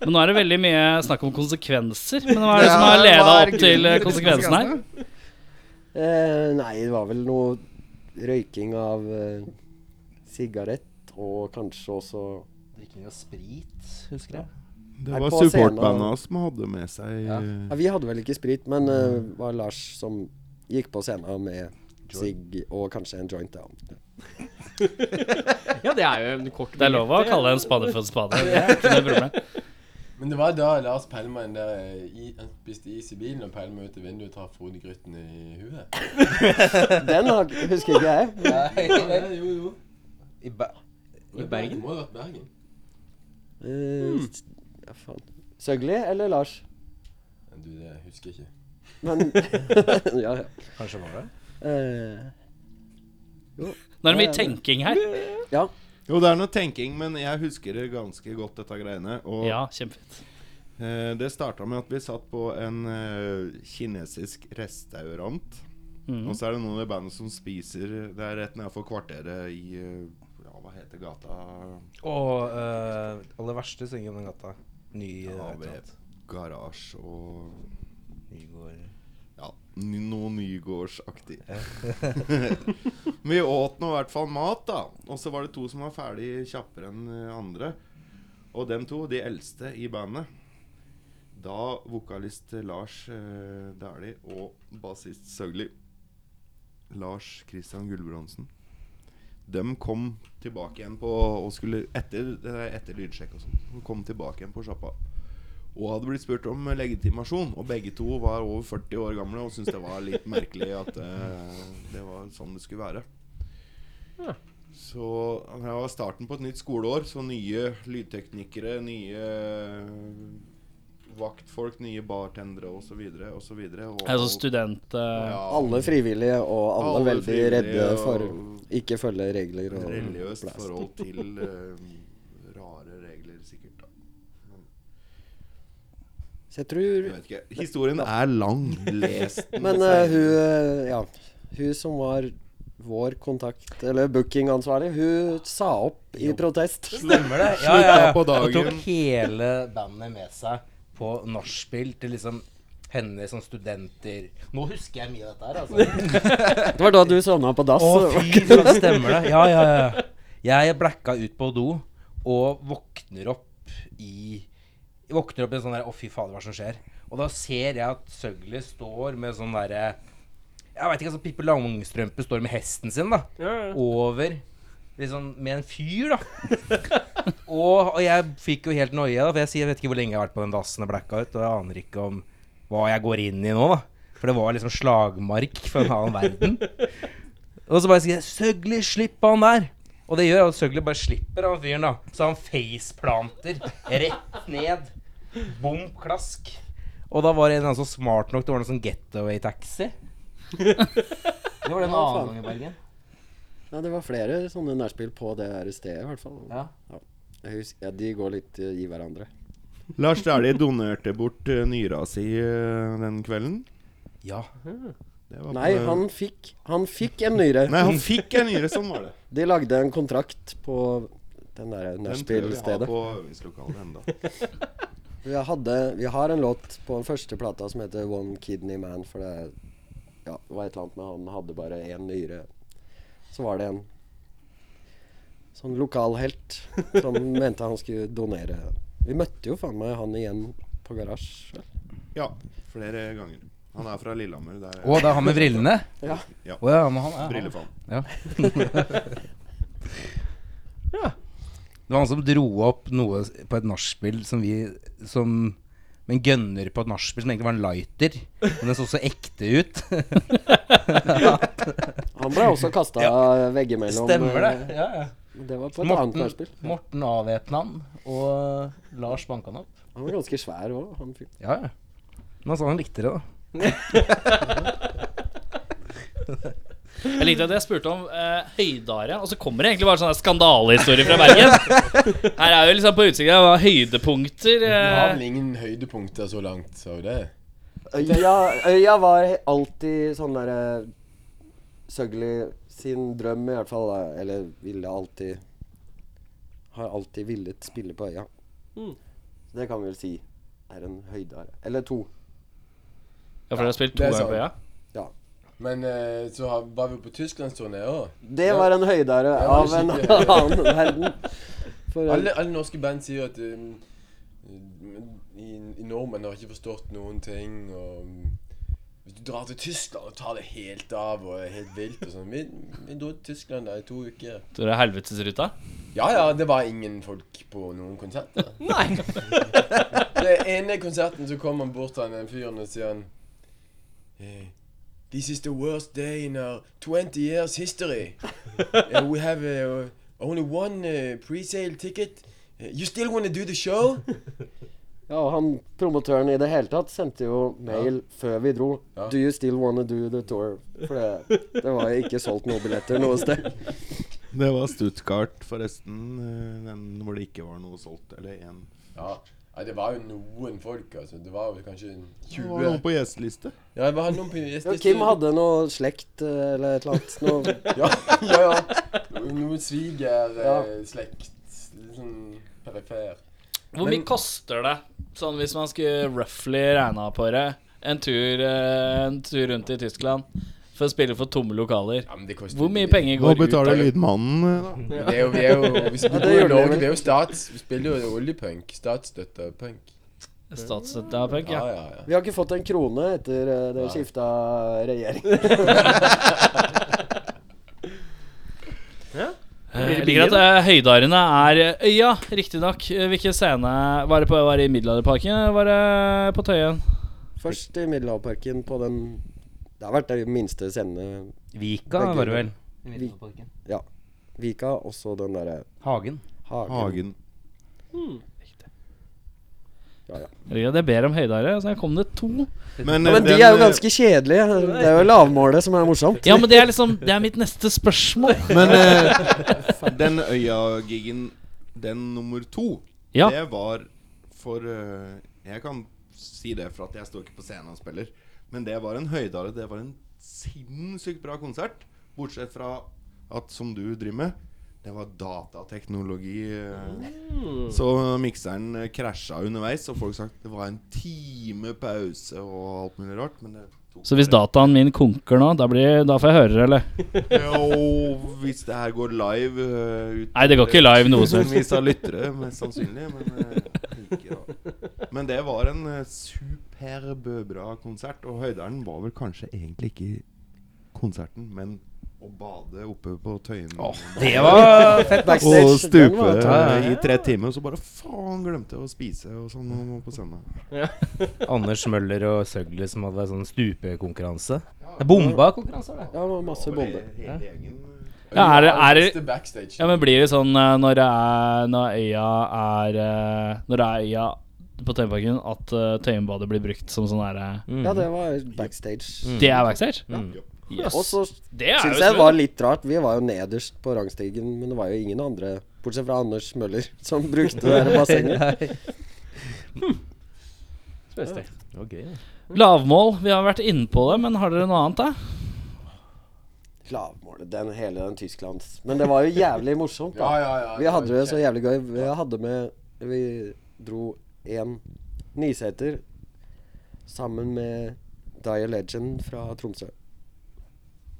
B: Men nå er det veldig mye snakk om konsekvenser. Men hva er det som har leda opp til eh, konsekvensen her?
F: eh, nei, det var vel noe røyking av eh, sigarett og kanskje også
H: Drikking av sprit, husker jeg.
G: Det
F: Nei,
G: var
F: på scenen.
G: supportbanda som hadde med seg eh,
F: Ja, Vi hadde vel ikke sprit, men eh, det var Lars som gikk på scenen med sigg og kanskje en joint. Ja.
A: ja, det er jo en kort
B: Det er lov å kalle en spade for en spade. Det er ikke noe problem.
I: Men det var da Lars pælma en der eh, i, han spiste is i bilen og pælma ut av vinduet og traff Frode Grytten i huet.
F: Den har, husker ikke jeg.
H: Nei,
I: Ja, jo, jo.
H: I, Ba- I Bergen?
I: Det må ha vært Bergen.
F: Eh, s- ja, faen. Søgli eller Lars?
I: Men Du, det husker jeg ikke.
F: Men Ja, ja.
H: Kanskje var det?
F: Eh,
B: Nå er det mye tenking her.
F: ja.
G: Jo, det er noe tenking, men jeg husker det ganske godt, dette greiene. Og
B: Ja, kjempefint.
G: Eh, det starta med at vi satt på en eh, kinesisk restaurant. Og så er det noen i bandet som spiser Det er rett nedenfor kvarteret i eh, Ja, hva heter gata?
H: Og eh, aller verste synger om den gata. Ny
G: Ja,
H: et eller annet.
G: Garasje og
H: Nygård.
G: Ja, ny- noe nygårdsaktig. Men vi åt nå i hvert fall mat, da. Og så var det to som var ferdig kjappere enn eh, andre. Og dem to, de eldste i bandet Da vokalist Lars eh, Dæhlie og bassist Søgli Lars Christian Gulbrandsen. Dem kom tilbake igjen på og skulle etter, eh, etter lydsjekk og sånn. de Kom tilbake igjen på sjappa og hadde blitt spurt om legitimasjon. Og begge to var over 40 år gamle og syntes det var litt merkelig at eh, det var sånn det skulle være. Så det var starten på et nytt skoleår, så nye lydteknikere, nye vaktfolk, nye bartendere osv. osv.
B: Altså student... eh,
F: Alle frivillige og alle,
G: Alle
F: veldig
G: frivillige
F: redde for
G: og-
F: ikke følge regler og
G: religiøst
F: blast.
G: forhold til eh, rare regler, sikkert. da
F: Så jeg tror
G: Jeg vet ikke. Historien er lang. Les den.
F: Men eh, hun eh, Ja. Hun som var vår kontakt, eller bookingansvarlig, hun sa opp i protest.
H: Stemmer det? Ja, ja,
G: Slutta
H: ja.
G: på dagen.
H: Og tok hele bandet med seg på nachspiel til liksom henne som studenter. Nå husker jeg mye av dette her, altså.
F: Det var da du sovna på dass.
H: Å, fy faen, stemmer det. Ja, ja, ja. Jeg blacka ut på do og våkner opp i Våkner opp i en sånn der Å, fy fader, hva er det som skjer? Og da ser jeg at Søgli står med sånn derre Jeg veit ikke, altså Pippe Langstrømpe står med hesten sin, da. Over liksom med en fyr, da. og, og jeg fikk jo helt noia, da, for jeg sier jeg vet ikke hvor lenge jeg har vært på den dassen og blacka ut, og jeg aner ikke om hva jeg går inn i nå, da. For det var liksom slagmark for en annen verden. Og så bare sier jeg 'Søgli, slipp han der'. Og det gjør at Søgli bare slipper han fyren, da. Så han faceplanter rett ned. Bom klask. Og da var det en eller annen så smart nok til å ordne sånn getaway-taxi. Det var det en annen gang i Bergen.
F: Nei, det var flere sånne nærspill på det her stedet, i hvert fall.
H: Ja.
F: Jeg husker, ja, de går litt eh, i hverandre.
G: Lars Dæhlie donerte bort eh, nyra si eh, den kvelden.
H: Ja.
G: Det var
F: Nei,
G: på-
F: han fikk, han fikk en nyre.
G: Nei, han fikk en nyre, sånn var det.
F: De lagde en kontrakt på den der
G: Den prøver vi å ha
F: nachspiel-stedet.
G: på øvingslokalet enda.
F: Vi, hadde- vi har en låt på den første plata som heter One Kidney Man, for det er- ja, det var et eller annet med han hadde bare én nyre. Så var det en sånn lokal helt som mente han skulle donere. Vi møtte jo faen meg han igjen på garasje.
G: Ja, flere ganger. Han er fra Lillehammer. Der
H: Og det er han med brillene.
F: Ja.
G: Ja.
H: Å ja, men han er han.
G: Brillefall.
H: Det var han som dro opp noe på et nachspiel som vi Som med en gunner på et nachspiel som egentlig var en lighter. Men den så så ekte ut.
F: Han ble også kasta veggimellom. eh,
H: Ja, ja.
F: Det var på et annet
H: Morten,
F: nachspiel.
H: Morten avvæpna han, og Lars banka han opp.
F: Han var ganske svær òg, han fyren.
H: Ja, ja. Men altså, han likte det, da.
B: Jeg likte at jeg spurte om eh, høydare, og så kommer det egentlig bare sånne skandalehistorier fra Bergen. Her er jo liksom på utsiden av høydepunkter.
I: Vi har
B: Eh,
I: vel ingen høydepunkter så langt, så det
F: Øya, øya var he- alltid sånn derre Søgli sin drøm, i hvert fall. da. Eller ville alltid Har alltid villet spille på øya.
I: Hmm.
F: Det kan vi vel si er en høydare. Eller to.
B: ja, for dere har spilt to
I: det er
B: ganger
I: sant.
B: på øya?
I: Men eh, så har, var vi jo på Tysklandsturné òg.
F: Det var en høydare
I: Det var
F: av en
I: skikkelig.
F: annen verden. For, eh,
I: Alle, alle norske band sier at um, i, i nordmenn har ikke forstått noen ting. Og um, hvis du drar til Tyskland og tar det helt av og er helt vilt og sånn Vi, vi dro til Tyskland da i to uker.
B: Tror du det er helvetesruta?
I: Ja ja, det var ingen folk på noen konserter. Nei Det ene konserten så kom han bort til den fyren og sier han eh, This is the worst day in our 20 years history. Eh, we have eh, only one eh, pre-sale ticket. Eh, you still wanna do the show?
F: ja, og han promotøren i det hele tatt sendte jo mail før vi dro.
I: Ja.
F: Do you still wanna do the tour? For det, det var ikke solgt noen billetter noe sted.
G: Det var Stuttgart, forresten. eh, Den hvor det ikke var noe solgt. Eller én.
I: Ja. ja, det var jo noen folk, altså. Det var vel kanskje
G: Det var noen
I: 20
G: på gjesteliste.
I: Ja, det var noen på
F: Ja, Kim hadde noe slekt eh, eller et eller annet. Noe,
I: Ja, ja. ja. Noen svigerslekt. Sånn perifer.
B: Hvor mye
I: Men-
B: koster det, sånn hvis man skulle roughly regna på det, en tur, eh, en tur rundt i Tyskland for å spille for tomme lokaler?
I: Ja, men det koster
B: Hvor mye penger
G: Hva
B: går ut av
G: betaler
B: det?
G: lydmannen, eh, da?
I: Det er jo, vi er jo, hvis vi
F: det
I: bor i
F: gjør det
I: Norge,
F: vel.
I: vi er jo stats... Vi spiller jo oljepunk. Statsstøtte og punk.
B: Statsstøtte av punk,
I: Ja,
B: ja.
I: ja, ja.
F: vi har ikke fått en krone etter eh, det skifta regjering.
B: Jeg liker at eh, høydarene er eh, øya, riktignok. Eh, Hvilken scene var det på? Var det i Middelalderparken? eller Var det på Tøyen?
F: Først i Middelhavparken på den Det har vært den minste scenen.
H: Vika
F: Det er
H: var det
F: gøy.
H: vel.
F: Vika, og så den derre
H: Hagen.
F: hagen.
G: Hagen.
B: Ja, det ber om høydare, så her kom det to.
G: Men,
F: Ja,
G: eh,
F: men de
G: den,
F: er jo
G: eh,
F: ganske kjedelige. Det er jo lavmålet som er morsomt.
B: Ja, men det er liksom Det er mitt neste spørsmål.
G: Men eh, den Øya-gigen, den nummer to,
B: Ja.
G: det var for eh, Jeg kan si det for at jeg står ikke på scenen og spiller, men det var en høydare. Det var en sinnssykt bra konsert. Bortsett fra at, som du driver med, det var datateknologi. eh,
F: Mm.
G: Så mikseren eh, krasja underveis, og folk sa det var en time pause og alt mulig rart. Men det tok
B: Så hvis
G: bare-
B: dataen min konker nå, da, blir, da får jeg høre det, eller?
G: Jo, hvis det her går live eh, ut
B: Nei, det går ikke live noe som
G: Tusenvis av lyttere, mest sannsynlig. Men, eh, ikke da. men det var en eh, superb bra konsert. Og høyderen var vel kanskje egentlig ikke konserten, men å bade oppe på Tøyen.
H: Det var fett.
G: og stupe eh,
H: ja,
G: i tre timer, og så bare faen glemte jeg å spise og sånn og må på scenen.
H: Anders Møller og Søgle som hadde sånn stupekonkurranse. Det er bomba konkurranse, var det.
F: Ja, det var masse bomber.
G: Hele gjengen
B: Ja, er, det- er, det-
I: Beste backstage.
B: ja, men blir det sånn eh, når, det er, når øya er eh, Når det er øya på Tøyenparken, at eh, Tøyenbadet blir brukt som sånn derre
H: Mm.
F: Ja, det var backstage.
B: Det er backstage? Yes.
F: Og så
B: Det er
F: syns
B: jo
F: jeg det
B: sprøtt.
F: var litt rart. Vi var jo nederst på rangstigen, men det var jo ingen andre, bortsett fra Anders Møller, som brukte det der bassenget.
B: Lavmål. Vi har vært inne på det, men har dere noe annet, da?
F: Lavmålet, den hele den Tysklands. Men det var jo jævlig morsomt, da. Vi hadde det så jævlig gøy. Vi hadde med Vi dro én Nyseter sammen med Dyer Legend fra Tromsø.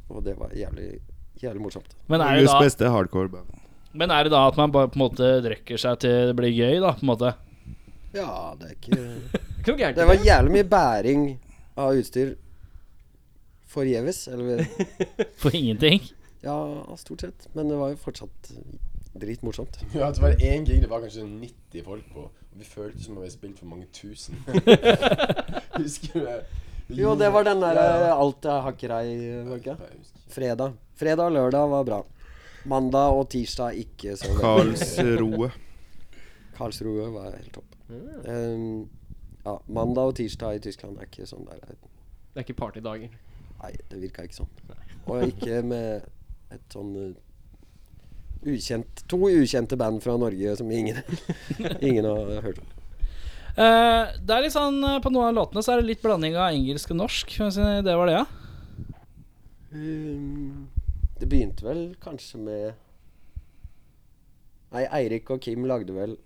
F: Og det var jævlig, jævlig morsomt.
B: Men er det
G: Norges
B: da
G: beste hardcore band.
B: Men er det da at man bare på en måte drikker seg til det blir gøy, da? på en måte
F: Ja, det er ikke
A: Ikke noe gærent
F: Det
A: i
F: var jævlig mye bæring av utstyr forgjeves. Eller
B: For ingenting?
F: ja, stort sett. Men det var jo fortsatt dritmorsomt.
I: Ja, det var én gig det var kanskje 90 folk på. Og vi følte som om vi hadde spilt for mange tusen. Husker du det?
F: Jo, det var den der
I: Ja,
F: eh,
I: ja.
F: alt er hakkerei var det ikke?
I: Jeg husker.
F: Fredag. Fredag og lørdag var bra. Mandag og tirsdag ikke så veldig.
G: Karlsroe.
F: Karlsruhe var helt topp. Um, ja, mandag og tirsdag i Tyskland er ikke sånn der.
A: Det er ikke partydager.
F: Nei, det virka ikke sånn. Og ikke med et sånn uh, ukjent To ukjente band fra Norge som ingen, ingen har hørt om.
B: Eh, det er litt sånn eh, På noen av låtene så er det litt blanding av engelsk og norsk. Kan vi si Det var det, ja.
F: Um, det begynte vel kanskje med Nei, Eirik og Kim lagde vel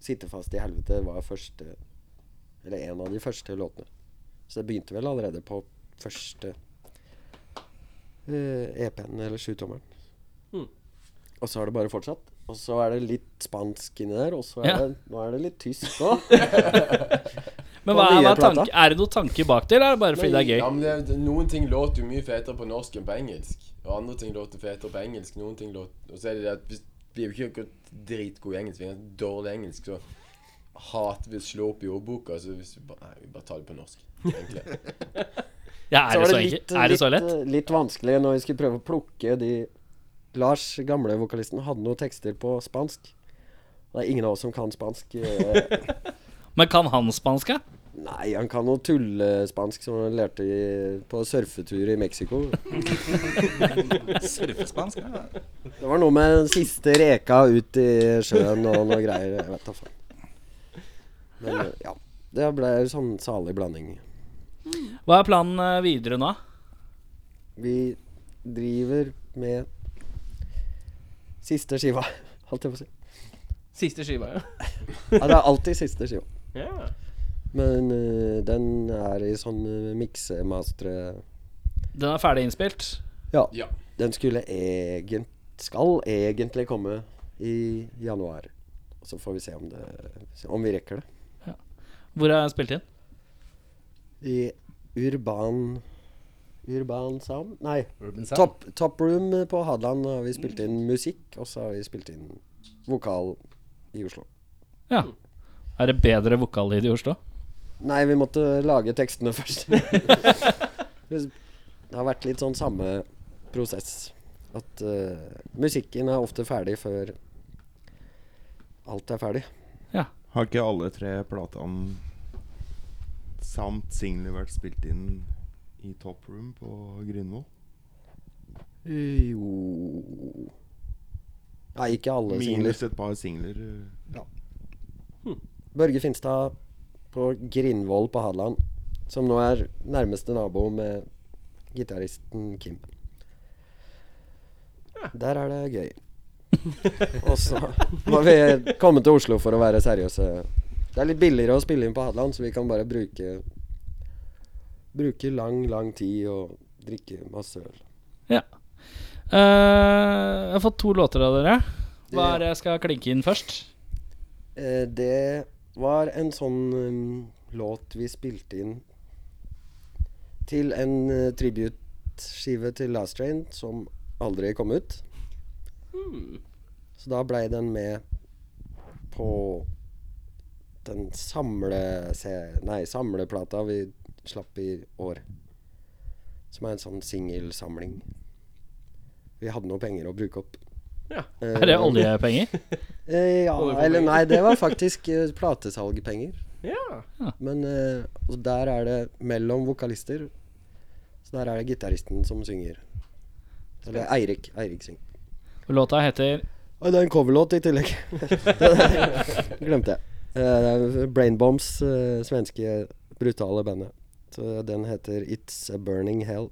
F: 'Sitte fast i helvete' var første Eller en av de første låtene. Så det begynte vel allerede på første eh, EP-en eller sjutommeren.
A: Mm.
F: Og så har det bare fortsatt. Og så er det litt spansk inni der, og så er
B: Ja.
F: det, nå er det litt tysk òg.
B: Men
F: På
B: hva er,
F: nye
B: hva er,
F: plata.
B: tanke, er det noen tanke bak det, eller er det bare fordi det er
I: Ja,
B: gøy?
I: men det, det, noen ting låter jo mye fetere på norsk enn på engelsk. Og andre ting låter fetere på engelsk. Noen ting låter Og så er det det at hvis vi er jo ikke akkurat dritgode i engelsk, vi er ganske dårlig i engelsk, så hater vi å slå opp i ordboka. Så hvis vi bare Nei, vi bare tar det på norsk, egentlig.
B: Ja, er, det så
F: litt,
B: enkelt? er det så
F: litt,
B: lett?
F: eh, litt vanskelig når vi skulle prøve å plukke de Lars, gamle vokalisten, hadde noen tekster på spansk. Det er ingen av oss som kan spansk. eh,
B: Men kan han spansk? ja?
F: Nei, han kan noe tullespansk som han lærte i, på surfetur i Mexico.
H: Surfespansk. Ja.
F: Det var noe med den siste reka ut i sjøen og noe greier. Jeg vet da faen. Men eh, ja. Det ble sånn salig blanding.
B: Hva er planen eh, videre nå?
F: Vi driver med siste skiva, holdt jeg på å si.
A: Siste skiva, ja.
F: Ja, det er alltid siste skiva.
A: ja.
F: Men eh, den er i sånn eh, miksemastre
B: Den er ferdig innspilt?
F: Ja.
I: Ja.
F: Den skulle egent, skal egentlig komme i januar. Og så får vi se om, det, om vi rekker det.
B: Hvor er den spilt inn?
F: I Urban Urban Sound? Nei.
H: Urban Sound.
F: Top, top Room på Hadeland har vi spilt inn musikk, og så har vi spilt inn vokal i Oslo.
B: Ja. Er det bedre vokallyd i Oslo?
F: Nei, vi måtte lage tekstene først. det har vært litt sånn samme prosess. At eh, musikken er ofte ferdig før alt er ferdig.
G: Har ikke alle tre platene samt singler vært spilt inn i Top Room på Grindvoll?
F: Jo Nei, ikke alle singler.
G: Minus et par singler. eh.
F: Børge Finstad på Grindvoll på Hadeland, som nå er nærmeste nabo med gitaristen Kim. Der er det gøy. Og så må vi komme til Oslo for å være seriøse. Det er litt billigere å spille inn på Hadeland, så vi kan bare bruke Bruke lang, lang tid og drikke masse øl.
B: Eh, jeg har fått to låter av dere. Hva er det jeg skal klinke inn først?
F: Eh, det var en sånn um, låt vi spilte inn til en eh, tribute skive til Last Train som aldri kom ut. Så da blei den med på den samle... se- Nei, samleplata vi slapp i år. Som er en sånn singelsamling. Vi hadde noe penger å bruke opp.
A: Ja.
F: Eh,
B: Er det oljepenger?
F: Eh, ja,
A: Oljepenger?
F: eller nei, det var faktisk eh, platesalgpenger.
A: Ja.
F: Men eh, og der er det mellom vokalister. Så der er det gitaristen som synger. Eller Eirik. Eirik synger.
B: Og Låta heter
F: Oi, det er en coverlåt i tillegg. Glemte jeg. Eh, Brainbombs, eh, svenske brutale bandet. Så den heter It's A Burning Hell.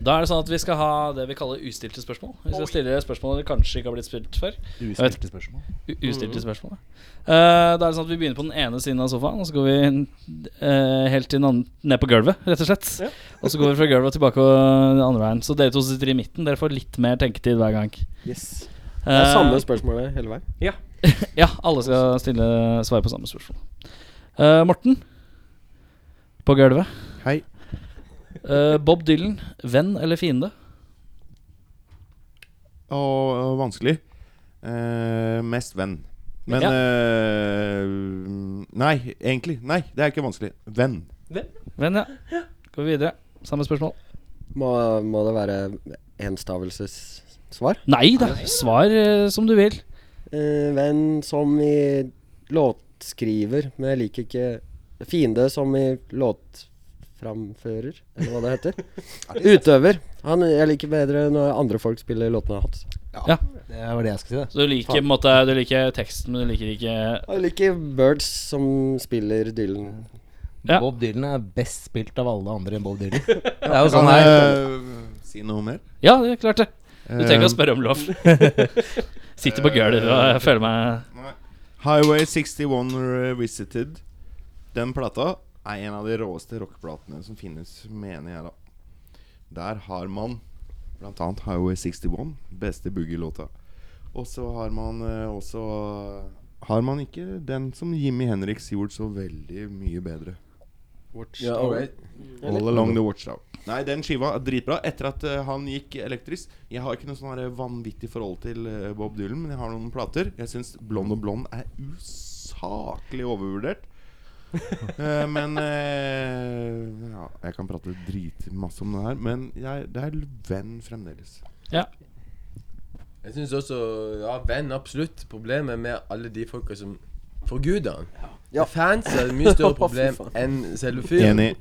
B: Da er det sånn at vi skal ha det vi kaller ustilte spørsmål. Vi skal stille spørsmål dere kanskje ikke har blitt spilt før. Ustilte
H: spørsmål.
B: U
F: Mm.
B: ustilte spørsmål. ja. Eh, da er det sånn at vi begynner på den ene siden av sofaen, og så går vi eh, helt til den andre, ned på gulvet, rett og slett. og så går vi fra gulvet og tilbake og den andre veien. Så dere to sitter i midten. Dere får litt mer tenketid hver gang.
F: Yes.
B: Eh,
F: Det er samme spørsmålet hele veien.
B: ja, alle skal stille svare på samme spørsmål. Eh, Morten på gulvet.
J: Hei.
B: Eh, Bob Dylan, venn eller fiende?
G: Og, og vanskelig. Eh, mest venn. Men
B: Ja.
G: eh, mm, Nei, egentlig. Nei, det er ikke vanskelig. Venn.
B: Venn, ja. Går vi videre. Samme spørsmål.
F: Må, må det være enstavelsessvar?
B: Nei da. Svar eh, som du vil.
F: Eh, venn som i låtskriver, men jeg liker ikke Fiende som i låtframfører, eller hva det heter. Utøver. Han, jeg liker bedre når andre folk spiller låtene hans.
J: Det var det jeg skulle si.
B: Så du liker, på en måte, du liker teksten, men du liker ikke
F: Jeg liker Birds som spiller Dylan.
J: det.
B: Ja.
J: Bob Dylan er best spilt av alle andre enn Bob Dylan. Det er jo
G: Kan
J: sånn her
G: jeg si noe mer?
B: Ja, det er klart det. Du trenger ikke å
G: Eh,
B: spørre om lov. Sitter på gulvet og jeg føler meg
G: Highway 61 Revisited. Den plata er en av de råeste rockeplatene som finnes, mener jeg, da. Der har man blant annet Highway 61, beste boogie-låta. Og så har man eh, også Har man ikke den som Jimmy Henriks gjorde så veldig mye bedre.
F: Ja,
G: All Along The Watchtower. Nei, den skiva er dritbra. Etter at eh, han gikk elektrisk Jeg har ikke noe sånn her vanvittig forhold til eh, Bob Dylan, men jeg har noen plater. Jeg syns Blond og Blond er usaklig overvurdert. Eh, men eh, ja, Jeg kan prate dritmasse om det her, men jeg, det er venn fremdeles.
I: Jeg syns også Ja, venn, absolutt. Problemet med alle de folka som forguder han.
F: Ja.
I: Fans er et mye større problem
F: Fy faen.
I: enn selve fyren.
G: Enig.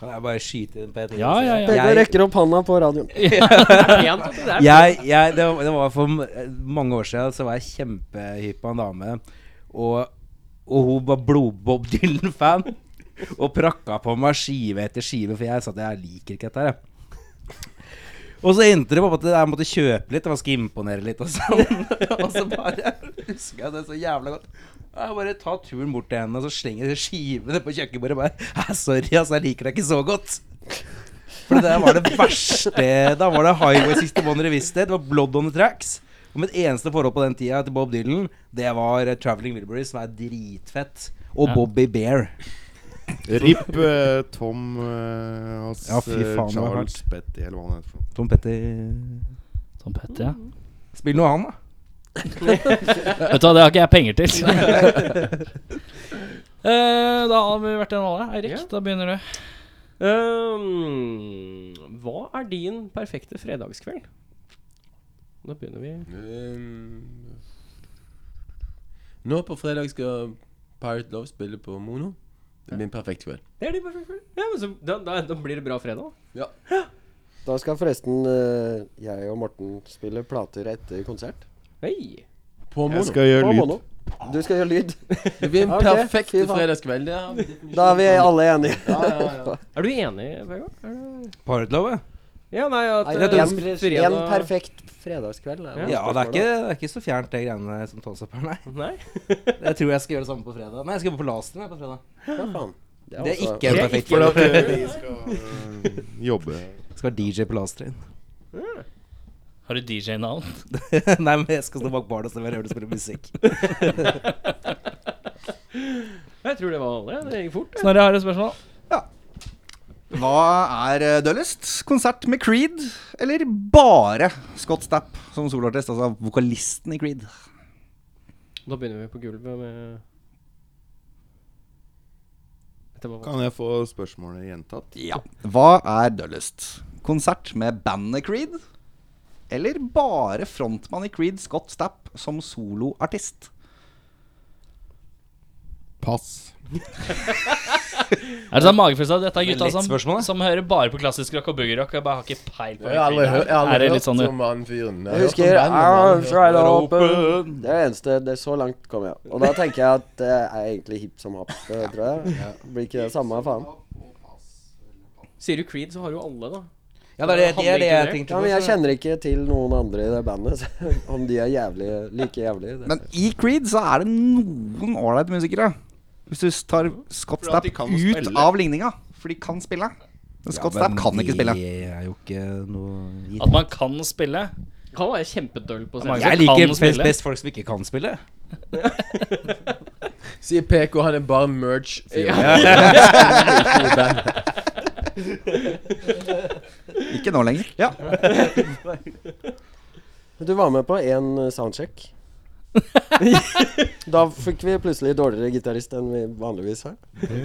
H: Kan jeg bare skyte inn på et
B: Ja, ja, ja.
F: Begge
H: Jeg-
F: rekker opp handa på radioen.
H: jeg, jeg, det, var- det var for m- eh, mange år siden Så var jeg kjempehypp på en dame Og, og hun var blodbob Dylan-fan Og prakka på meg skive etter skive For jeg sa at jeg liker ikke dette her jeg. Og så endte det på at jeg måtte kjøpe litt Og man skal imponere litt og sånn Og så bare husker jeg det så jævla godt jeg bare tar turen bort til henne Og så slenger jeg skivene på kjøkkenbordet og bare, «Hæ, Sorry, altså, jeg liker deg ikke så godt for det der var det verste Da var det Highway 61 Revisted. Det var Blood on the Tracks. Og mitt eneste forhold på den tida til Bob Dylan, det var eh, Traveling Wilburys, som er dritfett. Og
B: Ja.
H: Bobby Bear.
G: Rip eh, Tom eh, hans,
H: Ja, fy
G: eh,
H: faen, det var
G: Charles Betty, eller hva han heter. for noe.
H: Tom Petter
B: Tom Petty, ja.
H: Spill noe han, da.
B: Vet du hva, det har ikke jeg penger til. Eh, da har vi vært gjennom alle. Eirik,
A: Ja.
B: da begynner du.
A: Ehm, hva er din perfekte fredagskveld? Da begynner vi.
I: Ehm, Nå på fredag skal Pirate Love spille på Mono. Det blir en perfekt kveld.
A: Det er din perfekte kveld. Ja, men så, da, da, da blir det bra fredag.
F: Da skal forresten eh, jeg og Morten spille plater etter konsert.
A: Hei.
I: På Mono.
G: Jeg skal gjøre
F: På
G: lyd.
F: Mono. Du skal gjøre lyd.
I: Det blir en
F: Ok,
I: perfekt
F: fy faen.
I: fredagskveld. Det er
F: Da er vi alle enige.
A: Er du enig, Vegard? Er det-
H: Piratlove?
A: Ja, nei, at
F: Nei,
A: eh,
F: en,
A: fredag-
F: en perfekt fredagskveld. er vel
H: Ja, det
F: spørsmålet.
H: er, ikke, det er ikke så fjernt, det greiene som tas opp her, nei.
A: Nei.
H: Jeg tror jeg skal gjøre det samme på fredag. Nei, jeg skal på Lasten jeg, på fredag.
F: Ja, faen.
H: Det er
F: også-
H: altså, ikke en perfekt
G: For at
H: kveld.
G: eh, vi skal eh, jobbe
H: Skal være DJ på Lasterin.
B: Har du DJ-navn?
H: nei, men jeg skal stå bak baren og servere øl og spille musikk.
A: Jeg tror det var alle. Det gikk fort.
B: Snorre har et spørsmål.
E: Hva er eh, døllest? Konsert med Creed, eller bare Scott Stapp som soloartist? Altså vokalisten i Creed.
A: Da begynner vi på gulvet med Dette var
G: Kan jeg få spørsmålet gjentatt?
E: Ja. Hva er døllest? Konsert med bandet Creed, eller bare frontmann i Creed, Scott Stapp, som soloartist?
G: Pass.
B: Er det sånn magefølelse av dette er gutta
H: Lett
B: som,
H: spørsmål, da.
B: som hører bare på klassisk rock og boogie-rock? Jeg bare har ikke peil på
I: Jeg har aldri, hø jeg har
B: Er
I: aldri
B: det
I: hørt
B: litt sånn du
I: om han fyren. Jeg Ah, har
F: Jeg
I: hørt om
F: husker
I: bandet, men jeg har
F: I'll
I: aldri hørt
F: try
I: om
F: to
I: det.
F: open Det er det eneste det er Så langt kom jeg. Og da tenker jeg at det er egentlig hipp som happ, eh, tror jeg. Blir ikke det samme, faen.
A: Sier du Creed, så har jo alle, da.
H: Ja, det er det, det, er det jeg
A: Handler
H: tenkte
F: Ja,
H: på.
F: men jeg
H: så-
F: kjenner ikke til noen andre i det bandet, så om de er jævlig like jævlig. Det.
E: Men i Creed så er det noen ålreite musikere. Hvis du tar Scott
G: For at
E: Stapp
G: de
E: ut
G: kan spille.
E: av ligninga, for de kan spille. Men Scott Stapp kan ikke spille.
H: Det er jo ikke noe gitt.
B: At man kan spille?
A: Kan være kjempedøll på
B: mange
A: scenen.
B: som
H: Jeg liker
B: kan
H: best,
B: spille.
H: best folk som ikke kan spille.
I: Sier PK, han er bare merch.
E: Ikke nå lenger. Ja.
F: Du var med på en eh, soundcheck. da fikk vi plutselig dårligere gitarist enn vi vanligvis har.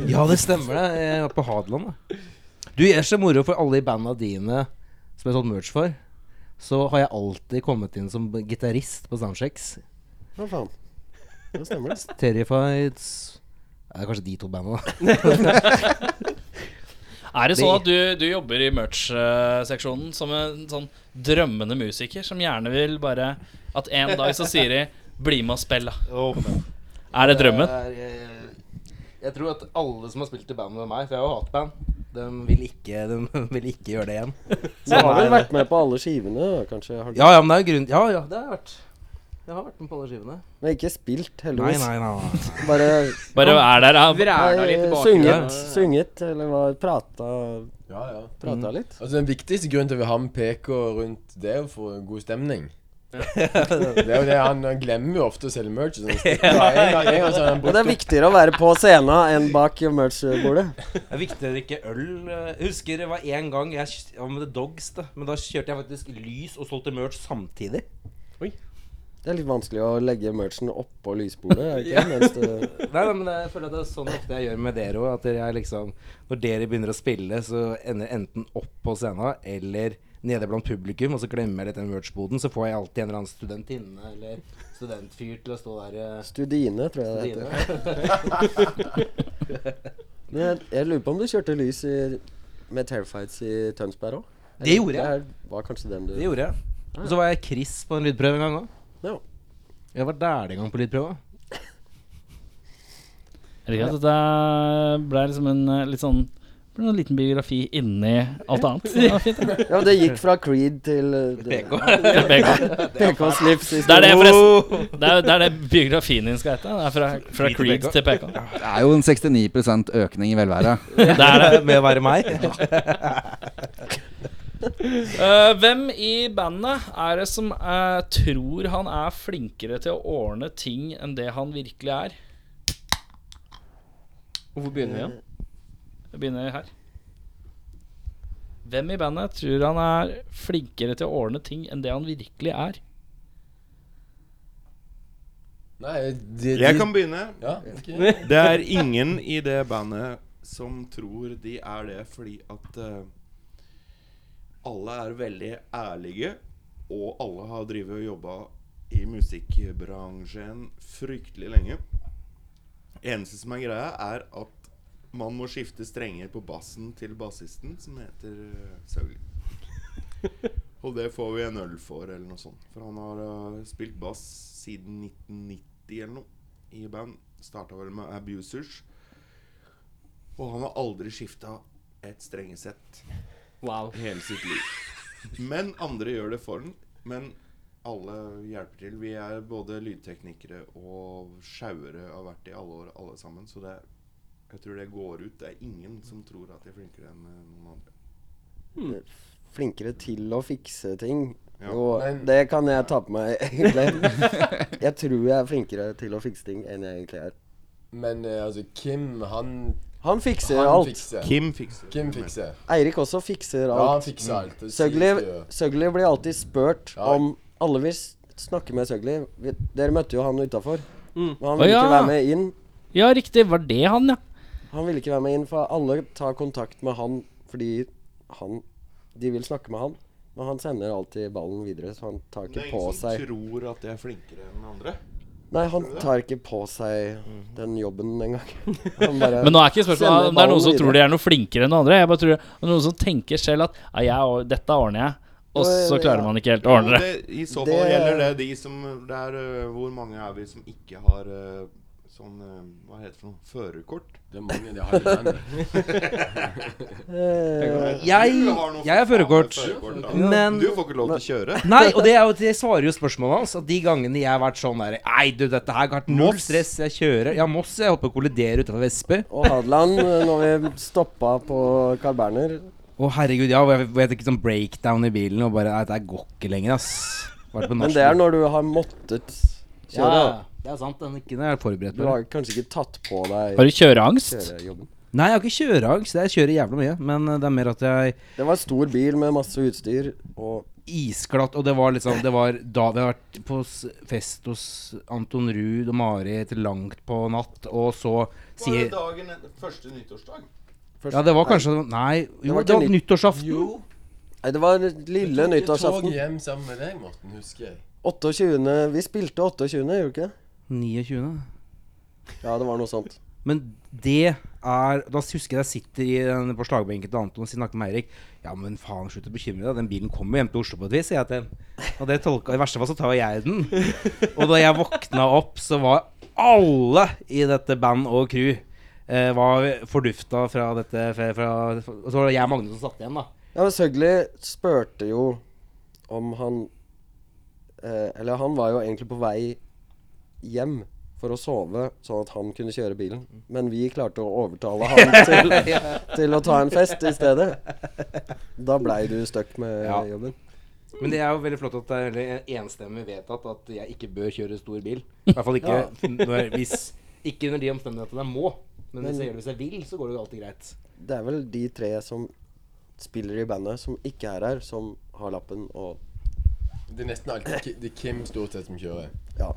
H: Ja, det stemmer det. Jeg var på Hadeland, da. Du gjør så moro for alle i banda dine som jeg har solgt merch for. Så har jeg alltid kommet inn som gitarist på soundchecks.
F: Hva faen? Det stemmer, det.
H: Terrified ja, Det er kanskje de to banda, da.
B: Er det sånn at du, du jobber i merch-seksjonen som en sånn drømmende musiker som gjerne vil bare At en dag så sier de 'bli med og spill', da. Er det drømmen?
H: eh, Jeg tror at alle som har spilt i band med meg, for jeg har jo hatband, de vil ikke, de vil ikke gjøre det igjen.
F: Du har vel vært med på alle skivene, da, kanskje? Har du?
H: Ja, ja, men det er jo grunn... Ja, ja, det har jeg vært. Jeg har vært med på alle skivene.
F: Men ikke spilt,
H: Nei,
F: heldigvis.
H: nei, nei.
F: Bare
B: Bare er der, ja.
A: Vræla litt
F: eh,
A: tilbake.
F: sunget, sunget, eller hva, prata,
I: Ja, ja.
H: Mm.
F: prata litt.
I: Altså Den viktigste grunnen til at vi har med PK rundt, det er jo for god stemning. det er jo det Han, han glemmer jo ofte å selge merch. Sånn. Det er en gang, en gang så har altså,
F: Men
I: han
F: det
I: brukt
F: er viktigere å være på scenen enn bak merch-bordet.
H: Det er viktig å drikke øl. Jeg husker det var en gang jeg kj- jeg var med The Dogs. da Men da kjørte jeg faktisk lys og solgte merch samtidig.
A: Oi.
F: Det er litt vanskelig å legge merchen oppå lysbordet. er det Ikke? Mens det,
H: Nei, nei, men jeg føler at det er sånn ofte jeg gjør med dere òg. At jeg liksom Når dere begynner å spille, så ender jeg enten opp på scenen eller nede blant publikum, og så glemmer jeg litt den merch-boden. Så får jeg alltid en eller annen studentinne eller studentfyr til å stå der eh,
F: Studine, tror jeg det heter. Men jeg, jeg lurer på om du kjørte lys i, med Terrifieds i Tønsberg òg?
H: Det gjorde jeg.
F: Det var kanskje den du
H: Det gjorde jeg. Og så var jeg Chris på en lydprøve en gang òg.
F: Ja.
H: Jeg var der en gang på lydprøve.
B: Jeg liker at dette ble liksom en eh, litt sånn det ble en liten biografi inni alt annet. Det var fint. det.
F: Ja, men det gikk fra Creed til eh, det-
B: Til begge.
F: PK Slips i
B: Det er det,
F: skolen.
B: forresten. Det er, det er det biografien din skal hete. Det er fra, fra Creed til PK.
E: Det er jo en 69 økning i velværet.
B: Det er det.
H: Med å være meg.
B: Eh, hvem i bandet er det som eh, tror han er flinkere til å ordne ting enn det han virkelig er?
A: Hvorfor begynner vi igjen?
B: Jeg begynner her. Hvem i bandet tror han er flinkere til å ordne ting enn det han virkelig er?
I: Nei, de, de,
G: Jeg kan begynne.
I: Ja, ok.
G: Det er ingen i det bandet som tror de er det fordi at eh, alle er veldig ærlige, og alle har drevet og jobba i musikkbransjen fryktelig lenge. Eneste som er greia, er at man må skifte strenger på bassen til bassisten, som heter eh, Søgli. Og det får vi en øl for, eller noe sånt. For han har eh, spilt bass siden 1990 eller noe i band. Starta vel med Abusers. Og han har aldri skifta et strengesett
A: Wow.
G: hele sitt liv. Men andre gjør det for han. Men alle hjelper til. Vi er både lydteknikere og sjauere har vært i alle år, alle sammen. Så det er, jeg tror det går ut. Det er ingen som tror at de er flinkere enn eh, noen andre.
F: Eh, Flinkere til å fikse ting.
G: Ja.
F: Og det kan jeg ta på meg, egentlig. Jeg tror jeg er flinkere til å fikse ting enn jeg egentlig er.
I: Men eh, altså, Kim, han
F: Han fikser
I: han
F: alt.
I: fikser.
G: Kim fikser
I: Kim fikser.
F: Eirik også fikser
I: Ja, han
F: alt.
I: fikser alt. Det
F: Søgli,
I: sies jo.
F: Søgli blir alltid spurt
I: Ja.
F: om Alle vil s- snakke med Søgli. Vi, dere møtte jo han utafor. Men han
B: Å,
F: ville
B: ja.
F: ikke være med inn.
B: Ja, riktig. Var det han, ja?
F: Han ville ikke være med inn, for alle tar kontakt med han fordi han De vil snakke med han, men han sender alltid ballen videre, så han tar
G: Det
F: ikke
G: er
F: på
G: ingen som
F: seg
G: tror at de er flinkere enn andre.
F: Nei, han tar ikke på seg
I: Mhm.
F: den jobben engang. Han bare
B: Men nå er ikke spørsmålet
F: Sender
B: om det er noen som
F: ballen
B: tror de er noe flinkere enn andre. Jeg bare tror det er noen som tenker selv at ja, jeg, or- dette ordner jeg. Og så
F: Ja.
B: klarer man ikke helt å ordne det.
G: Jo, det. I så
F: Det-
G: fall gjelder det de som det er, øh, Hvor mange er vi som ikke har øh, sånn øh, Hva heter det for noe? Førerkort?
I: Det er mange de har i landet.
F: eh,
H: Jeg,
G: Du har noe
H: jeg
G: faen
H: har
G: med
H: førerkort.
G: førerkort, da.
H: Men
G: Du får ikke lov til å kjøre.
H: Nei, og det, er jo, det svarer jo spørsmålet hans. At de gangene jeg har vært sånn der Nei, du, dette her har vært null stress. Jeg kjører. Ja, Moss. Jeg holdt på å kollidere utenfor Vestby.
F: Og Hadeland, eh, når vi stoppa på Carl Berner
H: Å, herregud. Ja, og jeg vet ikke sånn breakdown i bilen og bare Nei, dette her går ikke lenger, ass. Vært på
F: Men det er når du har måttet
H: Ja,
F: kjøre. da.
H: det er sant. Den er ikke den er jeg forberedt
F: Du
H: på.
F: har kanskje ikke tatt på deg
B: Har du kjøreangst?
F: kjørejobben.
H: Nei, jeg har ikke kjøreangst. Jeg kjører jævla mye. Men eh, det er mer at jeg
F: Det var en stor bil med masse utstyr, og
H: Isglatt. Og det var liksom Det var da vi har vært på s- fest hos Anton Ruud og Marit langt på natt, og så
G: Var det
H: sier
G: dagen etter første nyttårsdag?
H: Ja, det var kanskje Nei, jo,
F: var
H: det var
F: ikke
H: nyttårsaften.
F: Nei, det var
I: Jeg
F: lille
I: tok et tog
F: nyttårsaften.
I: hjem sammen med deg, Morten, husker jeg.
F: 28. Vi spilte 28., gjorde vi ikke?
H: 29.
F: Ja, det var noe sånt.
H: Men det er Da husker jeg jeg sitter i den, på slagbenken til Anton og sier til Eirik Ja, men faen, slutt å bekymre deg. Den bilen kommer hjem til Oslo på et vis, sier jeg til ham. Og det tolka, i verste fall så tar jeg den. Og da jeg våkna opp, så var alle i dette band og crew eh, var fordufta fra dette fra, fra, Og så var det jeg og Magne som satt igjen, da.
F: Ja, men Søgli spurte jo om han eh, Eller han var jo egentlig på vei hjem for å sove, sånn at han kunne kjøre bilen. Men vi klarte å overtale han til, til å ta en fest i stedet. Da blei du stuck med
H: Ja.
F: jobben.
H: Men det er jo veldig flott at det er veldig enstemmig vedtatt at jeg ikke bør kjøre stor bil. I hvert fall ikke, når, hvis, ikke under de omstendighetene jeg må. Men hvis jeg gjør det hvis jeg vil, så går det jo alltid greit.
F: Det er vel de tre som spiller i bandet, som ikke er her, som har lappen og
I: Det er nesten alltid Ki- det er Kim stort sett som kjører.
F: Ja.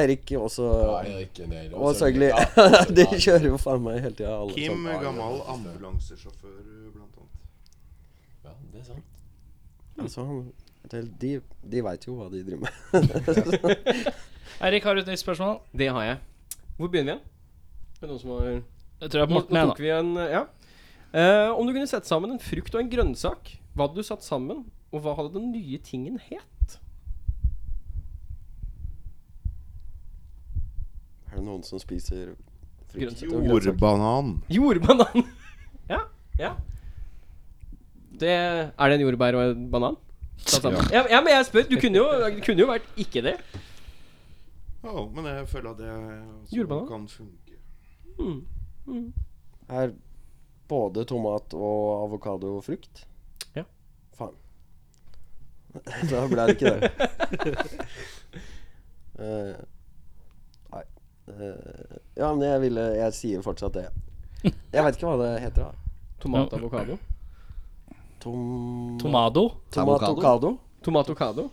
F: Eirik også
I: Ja, Erik, nei, det var
F: Og
I: Søgli.
F: Søgli.
I: Ja,
F: De
I: ja.
F: kjører jo faen meg hele tida. alle
G: Kim,
F: sammen.
G: gammel ambulansesjåfør, eh, blant annet.
I: Ja, det er sant.
F: Altså, han- det- de de veit jo hva de driver med.
B: Eirik, har du et nytt spørsmål?
H: Eh.
A: Det har jeg. Hvor begynner vi igjen? Er det noen som har
B: Jeg tror jeg er
A: Nå,
B: Morten
A: nå
B: igjen,
A: tok vi en Ja. Eh, om du kunne sette sammen en frukt og en grønnsak, hva hadde du satt sammen, og hva hadde den nye tingen het?
F: Er det noen som spiser frukt? og grønnsaker?
G: Jordbanan.
A: Jordbanan. ja. Ja. Det, er det en jordbær og en banan? Satt sammen. Ja. ja, men jeg spør. Du kunne jo, det kunne jo vært ikke det.
G: Ja, men jeg føler at det også
A: Jordbanan?
G: kan funke.
F: Er både tomat og avokado og frukt?
A: Ja.
F: Faen. da ble det ikke det. Eh, nei. Eh, ja, men jeg ville Jeg sier fortsatt det. Jeg veit ikke hå det heter, da.
A: Tomat, avokado.
F: Tom...
B: Tomado.
F: Tomatokado?
A: Tomatokado.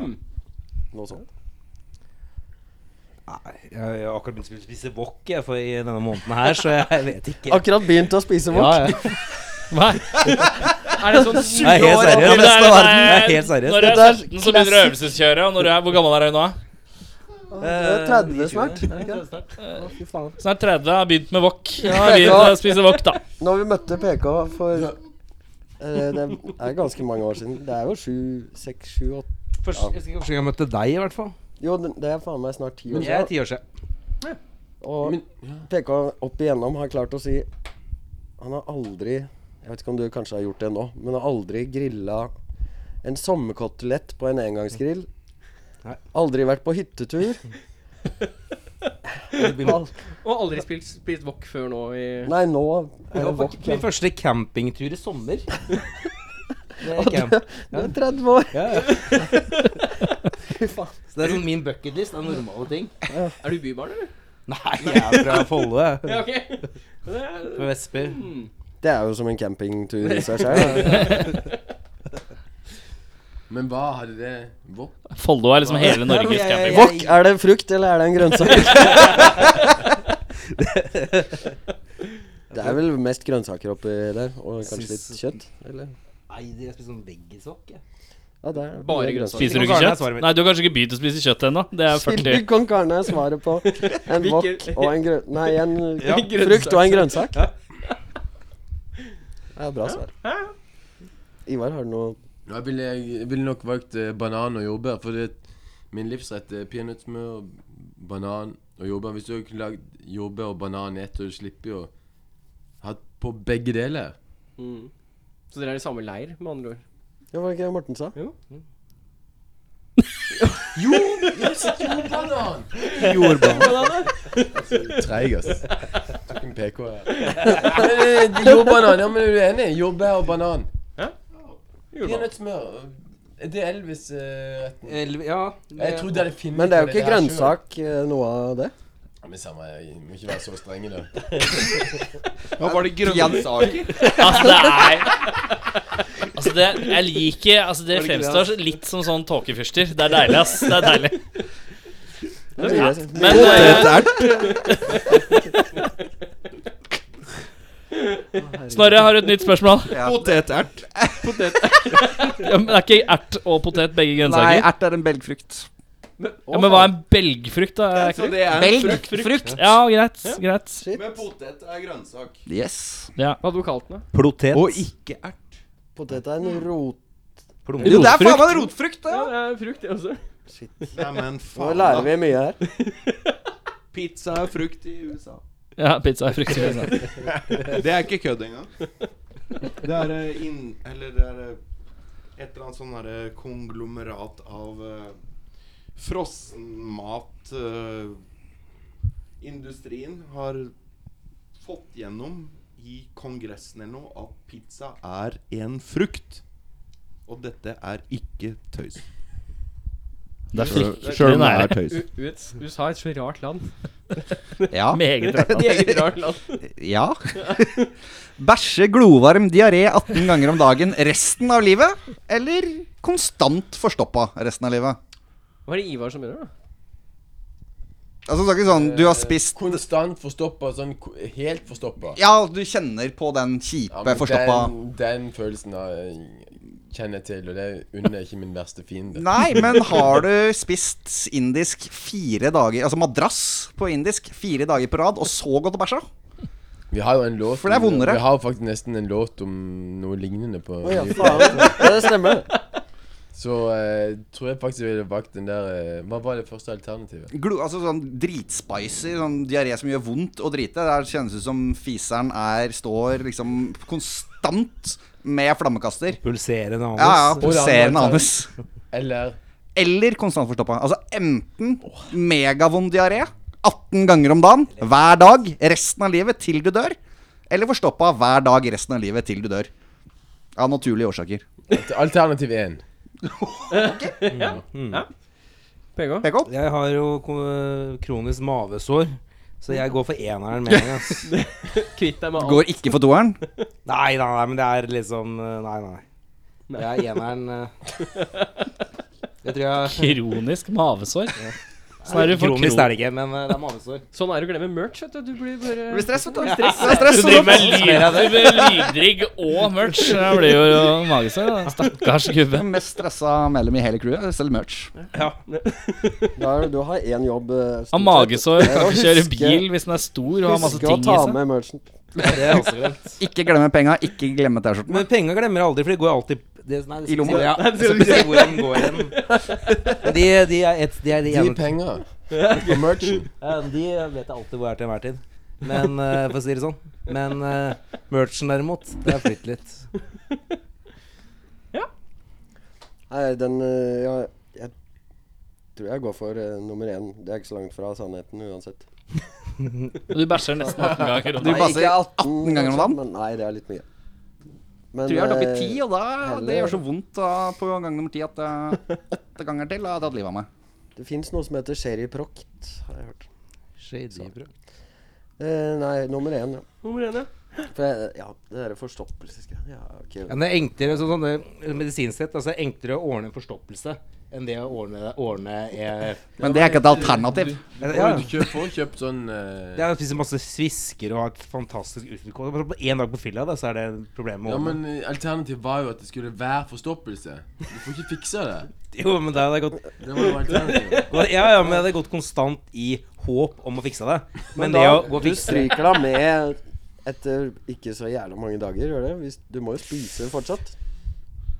F: Noe sånt.
H: Nei, jeg jeg har akkurat begynt å spise wok jeg, for i denne måneden her, så jeg vet ikke.
F: Akkurat begynt å spise wok.
J: Ja, ja.
B: Hva?
A: Er det sånn
H: Jeg er helt seriøs.
B: Ja, men det er-
H: Resten av
B: det
H: verden er helt seriøs.
B: Når du er
F: Dette er
B: 17, så begynner du øvelseskjøret. Og når du er, hvor gammel er du nå?
F: Eh, Det er 30 snart.
B: Snart 30. Har begynt med wok. Ja, har begynt å spise wok, da.
F: Når vi møtte PK for eh, Det er ganske mange år siden. Det er jo sju, seks, sju, åtte
H: Først, jeg husker ikke Første gang jeg møtte deg, i hvert fall.
F: Jo, det det er faen meg snart ti år
H: Jeg er ti år siden.
F: Og PK opp igjennom har klart å si Han har aldri Jeg vet ikke om du kanskje har gjort det nå, men har aldri grilla en sommerkotelett på en engangsgrill.
H: Nei.
F: Aldri vært på hyttetur. Al-
A: Og aldri spilt, spilt wok før nå i
F: Nei, nå er
H: Jeg
F: det
H: var
F: wok.
H: på min første campingtur i sommer. Det er, camp.
F: Du er 30 år.
H: Ja, ja. Så det er sånn min bucketlist er normale ting.
A: Er du bybarn, eller?
H: Nei, jeg er fra Follo, jeg.
A: Ja, ok. Det er,
H: Fra Vestby.
F: Det er jo som en campingtur i seg sjøl.
I: Men hva hadde det Hvor?
B: Follo er liksom hele Norges
H: jeg-
B: camping.
F: Wok, er det frukt, eller er det en grønnsak? det er vel mest grønnsaker oppi der, og kanskje litt kjøtt? Eller?
H: Nei, jeg spiser sånn veggiswok, jeg.
F: Ja, det er
A: Bare
F: det er
A: grønnsaker.
B: Spiser du ikke kjøtt? Nei, du har kanskje ikke begynt å spise kjøtt ennå. Det er 40.
F: Chili con carne er svaret på en wok
A: Hvilken-
F: og en grønn... Nei, en
H: Ja.
F: frukt og en grønnsak. Det er bra svar. Ivar, har du noe
I: Ja, Jeg ville, jeg ville nok valgt eh, banan og jordbær, for det, min livsrett er peanøttsmør, banan og jordbær. Hvis du hadde lagd jordbær og banan i ett, og du slipper jo hatt på begge deler.
A: mm. Så dere er i samme leir, med andre ord?
F: Ja, var det ikke det Morten sa?
I: Banan!
J: Treig, ass.
I: Tok en PK her. Men, eh, Jordbanan, ja, men er du enig? Jordbær og banan. Peanøttsmør. Er det Elvis-retten?
H: Eller, ja.
I: jeg trodde jeg hadde funnet
F: Men det er jo
I: på
F: ikke
I: her selv.
F: grønnsak, eh, noe av det.
I: Ja, men samme, jeg må ikke være så strenge, da.
G: Ja, var det grønnsaker?
B: Altså, det er Altså, det Jeg liker Altså, det fremstår litt som sånn tåkefyrster. Det er deilig, ass. Det er deilig. Men eh, Snorre har et nytt spørsmål.
E: Potetert.
B: Ja, men det er ikke ert og potet begge
E: Nei,
B: grønnsaker?
E: ert er en belgfrukt.
B: Ja, men hva er en belgfrukt, da? Er ikke det?
E: Belg?
B: Frukt. Ja, greit. greit
G: Men potet er grønnsak.
E: Yes.
A: Hva hadde du kalt den, da?
H: Plotet.
E: Og ikke ert.
F: Potet er en rot...
E: Jo, det er faen meg rotfrukt, det!
A: Ja, det er frukt, det også.
G: Nei, men
F: Nå
G: faen
F: lærer vi mye her.
G: Pizza er frukt i USA.
B: Ja, pizza er frukt. grønnsak.
G: Det er ikke kødd engang. Det er eh, inn... Eller det er eh, et eller annet sånn derre konglomerat av uh, frossenmat eh, Industrien har fått gjennom i Kongressen eller noe at pizza er en frukt. Og dette er ikke tøys.
B: Det er fryktelig nære.
G: tøys.
A: U- US USA er et så rart land.
E: Ja.
B: Meget rart.
A: Eget rart land.
E: Ja. Bæsje glovarm diaré 18 ganger om dagen resten av livet? Eller konstant forstoppa resten av livet?
A: Hva er det Ivar som gjør, da?
E: Altså, det er ikke sånn du har spist
I: Konstant forstoppa, sånn ko- helt forstoppa.
E: Ja, du kjenner på den kjipe forstoppa
I: Den, den følelsen har jeg kjenner jeg til, og det unner jeg ikke min verste fiende.
E: Nei, men har du spist indisk fire dager Altså madrass på indisk fire dager på rad, og så gått og bæsja?
I: Vi har jo en låt
E: For det er
I: om-
E: vondere.
I: Vi har faktisk nesten en låt om noe lignende på
F: Å ja, faen. Ja, det stemmer.
I: Så eh, tror jeg faktisk jeg ville valgt den der eh, Hva var det første alternativet?
E: Glo, altså sånn dritspicy, sånn diaré som gjør vondt å drite. Det kjennes ut som fiseren er, står liksom konstant med flammekaster.
H: Pulserende anus.
E: Ja, ja,
I: Og det andre
E: pulserende
I: er-
E: anus.
I: Eller
E: Eller konstant forstoppa. Altså enten megavond diaré 18 ganger om dagen hver dag resten av livet til du dør, eller forstoppa hver dag resten av livet til du dør. Av naturlige årsaker.
I: alternativ én.
A: PK?
E: PK?
H: Jeg har jo ko- kronisk mavesår, så jeg går for eneren med en gang. ass.
A: Kvitt deg med alt.
E: Går ikke for toeren.
H: Nei, nei, nei, men det er liksom eh, Nei, nei. Det er eneren eh. Det tror jeg
B: Kronisk mavesår. Sånn er det for
H: Kronisk
B: kronisk.
H: er det ikke, men eh, det er mavesår.
A: Sånn er det å glemme merch, vet du. Du blir bare
E: Det blir stress, vet du. Det er stress,
B: Du
E: så
B: driver
E: da-
B: med lyd- med lyddrigg og merch. Det blir jo magesår. da. Stakkars gubbe.
E: Mest stressa medlem i hele crewet. Selger merch.
F: Da er, du har én jobb. eh, stort
B: Har magesår,
F: sett.
B: kan ikke
F: Det er
B: kjøre
F: å huske-
B: bil hvis den er stor og har masse
F: Huske å
B: ting i
F: ta
B: seg.
F: med merchen.
H: Det er også glemt.
E: Ikke glemme penga, ikke glemme T-skjorten.
H: Men penga glemmer jeg aldri, for de går alltid det, nei, det
E: I lomma.
H: Ja, jeg skal ikke si hvor de går hen. Men De, de er et De, er de,
I: Gi
H: ene-
I: penger på merchen.
H: Ja, de vet jeg alltid hvor er til enhver tid. Men eh, For å si det sånn. Men uh, merchen, derimot, det har flyttet litt.
F: Nei, den eh, ja, Jeg tror jeg går for eh, nummer én. Det er ikke så langt fra sannheten uansett.
B: Og du bæsjer nesten 18 ganger.
E: Du
B: Og
E: passer
F: ikke
E: 18 ganger om dagen.
F: Men nei, det er litt mye. Men
E: Tror jeg er oppe
F: eh,
E: i 10, og da, det
F: heller-
E: gjør så vondt da, på gang nummer 10 at eh, åtte ganger til har jeg tatt livet av meg.
F: det fins noe som heter sherryprokt, har jeg hørt. Eh, nei, nummer én, ja.
A: Nummer én, ja.
F: For jeg, ja, det derre forstoppelsesgreia ja, ok.
H: Ja, men det er enklere sånn, sånn det er medisinsk sett altså det er enklere å ordne en forstoppelse enn det å ordne, ordne eh, er,
E: Men det er ikke et alternativ.
H: ja,
I: Du kjøper, får kjøpt sånn eh,
H: Jeg spiser masse svisker og har et fantastisk uttrykk. Og bare På én dag på fylla, da, så er det problemet.
I: Ja,
H: over.
I: men eh, Alternativet var jo at det skulle være forstoppelse. Du får ikke fiksa det.
H: jo, men da hadde jeg gått,
I: Det var jo alternativet.
H: ja, ja, men jeg hadde gått konstant i håp om å fikse det. Men,
F: da,
H: det å gå og
F: du
H: fikse
F: stryker da med etter ikke så jævla mange dager, gjør det? Hvis, du må jo spise fortsatt.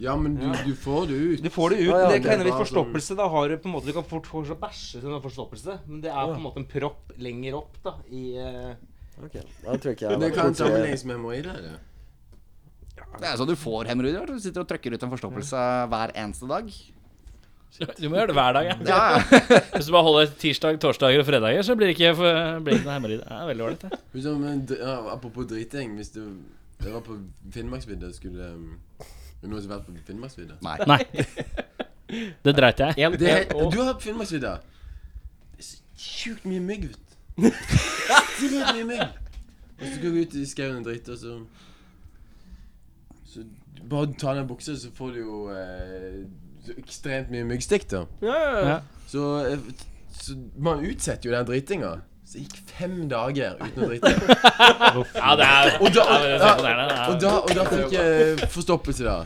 I: Ja, men du, du får det ut.
H: Du får det ut.
F: Ja, ja,
H: men det
F: det-
H: kan hende ved forstoppelse. Da har du på en måte Du kan fort fortsatt bæsje til du har forstoppelse, men det er på en måte en propp lenger opp, da, i eh,
F: Ok, da tror jeg ikke jeg
I: Det
F: var
I: kan
F: borti-
I: sammenlignes med hemoroider. det.
E: Det er sånn du får hemoroider. Du sitter og trykker ut en forstoppelse hver eneste dag.
B: Du må gjøre det hver dag. Ja.
E: Ja,
B: Hvis du bare holder tirsdag, torsdager og fredager, så blir det ikke, blir det ikke noe hemoroider. Det er veldig ålreit, det.
I: Hvis du- men d- ja, ah, Apropos driting. Hvis du det var på Finnmarksvidda, skulle um, Er det noen som har vært på Finnmarksvidda?
E: Nei.
B: Nei. Det dreit jeg i.
A: En,
I: Det
A: en,
I: er,
A: og
I: du har vært på Finnmarksvidda? Det er så sjukt mye mygg, vet du. Sjukt mye mygg. Og så går du ut i skauen og driter, og så Så bare ta av deg buksa, så får du jo eh, så ekstremt mye myggstikk, da.
A: ja, ja, ja.
I: Så, eh, så man utsetter jo den dritinga. Så det gikk fem dager uten å drite.
B: Ja, det er,
I: Og da,
B: ja, det er så moderne, det er-
I: og da, og da fikk jeg forstoppelse, da.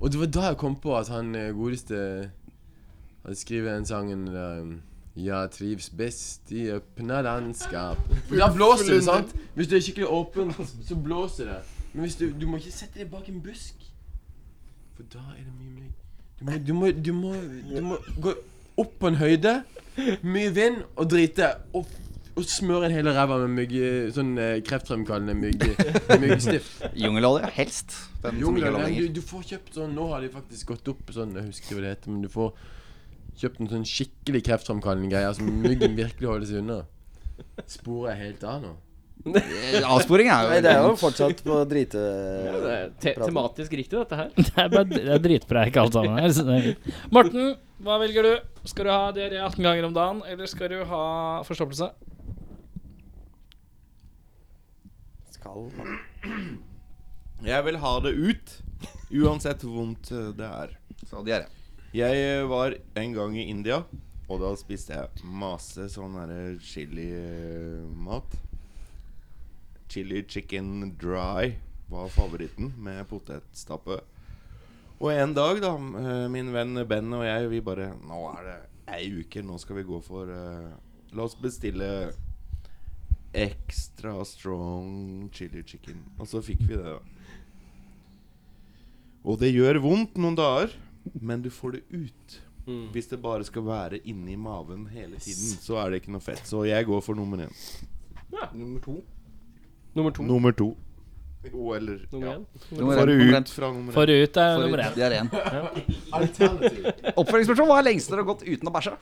I: Og det var da jeg kom på at han eh, godeste Han skriver den sangen der um, Jeg trivs best i åpne landskap. For da blåser det, sant? Hvis du er skikkelig åpen, så blåser det. Men hvis du, du må ikke sette deg bak en busk. For da er det mye mygg. Du må, du, må, du, må, du må gå opp på en høyde, mye vind, og drite. Og, og smøre en hele ræva med mygg, sånn eh, kreftfremkallende mygg, myggstift.
E: Jungelolje, helst. Den som ikke
I: Jungler,
E: er lov
I: men
E: lenger.
I: du, du får kjøpt sånn Nå har de faktisk gått opp sånn Jeg husker ikke hva det heter, men du får kjøpt en sånn skikkelig kreftframkallende greie som myggen virkelig holder seg unna. Sporer jeg helt av nå?
E: Eh, Avsporing er jo
F: Nei, det er jo fortsatt på drite...
A: Det er te
F: Praten.
A: tematisk riktig, dette her.
B: det er, bare, det er dritpreik, alt sammen. her, så det er fint. Morten, hva velger du? Skal du ha diaré 18 ganger om dagen, eller skal du ha forstoppelse?
F: skal
G: Jeg vil ha det ut, uansett hvor vondt eh, det er.
E: Så de er det.
G: Jeg eh, var en gang i India, og da spiste jeg masse sånn derre chilimat. Chili chicken dry var favoritten, med potetstappe. Og en dag, da, m- eh, min venn Ben og jeg, vi bare Nå er det ei uke, nå skal vi gå for eh, La oss bestille Extra strong chili chicken. Og så fikk vi det. da Og det gjør vondt noen dager, men du får det ut. Hvis det bare skal være inni maven hele tiden, så er det ikke noe fett. Så jeg går for nummer én.
A: Nummer to. Nummer to.
G: Nummer to. Jo, eller
A: Nummer
G: ja.
A: én.
E: Nummer
G: For
E: én, nummer én.
G: ut fra nummer én.
B: Forut er
E: Forut.
B: eh, nummer én.
E: De er én.
I: Alternativ.
E: Oppfølgingsspørsmål. Hva er lengst dere har gått uten å bæsje?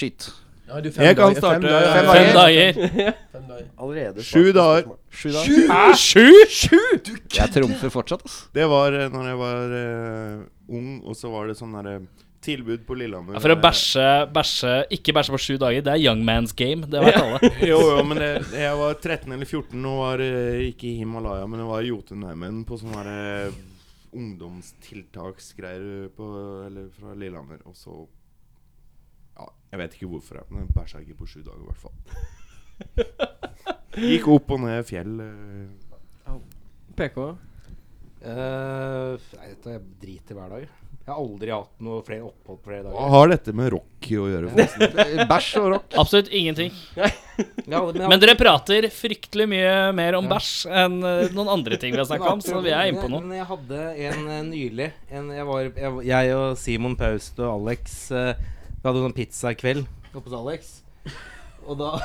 E: Skyt.
I: Ja, du,
G: Jeg kan
I: dager-
G: starte-
I: Fem dager.
E: Fem
B: Fem
E: dager.
B: dager.
I: Fem dager.
F: allerede
G: Sju dager.
F: Sju dager.
E: Jeg trumfer fortsatt, ass.
G: Det var eh, når jeg var eh, ung, og så var det sånn derre tilbud på Lillehammer.
B: Ja, for å
G: Eh,
B: bæsje, bæsje Ikke bæsje på sju dager, det er young man's game. Det vet alle.
G: Jo, jo, men det, jeg var 13 eller 14 og var eh, ikke i Himalaya, men jeg var i Jotunheimen på sånn her eh, ungdomstiltaksgreier på, eller fra Lillehammer. Og så Ja, jeg vet ikke hvorfor, jeg, men jeg bæsja ikke på sju dager, i hvert fall. Gikk opp og ned fjell. eh.
A: PK.
H: Eh, nei, dette jeg driter hver dag. Jeg har aldri hatt noe flere opphold på flere
G: Hva
H: dager.
G: har dette med Rocky å gjøre? forresten?
E: Bæsj og rock.
B: Absolutt ingenting.
H: Jeg har aldri-
B: Men dere prater fryktelig mye mer om bæsj enn eh, noen andre ting vi har snakka om, så vi er inne på noe.
H: Men jeg hadde en eh, nylig en, jeg, var, jeg, jeg og Simon Paust og Alex eh, Vi hadde sånn pizzakveld oppe hos Alex. Og da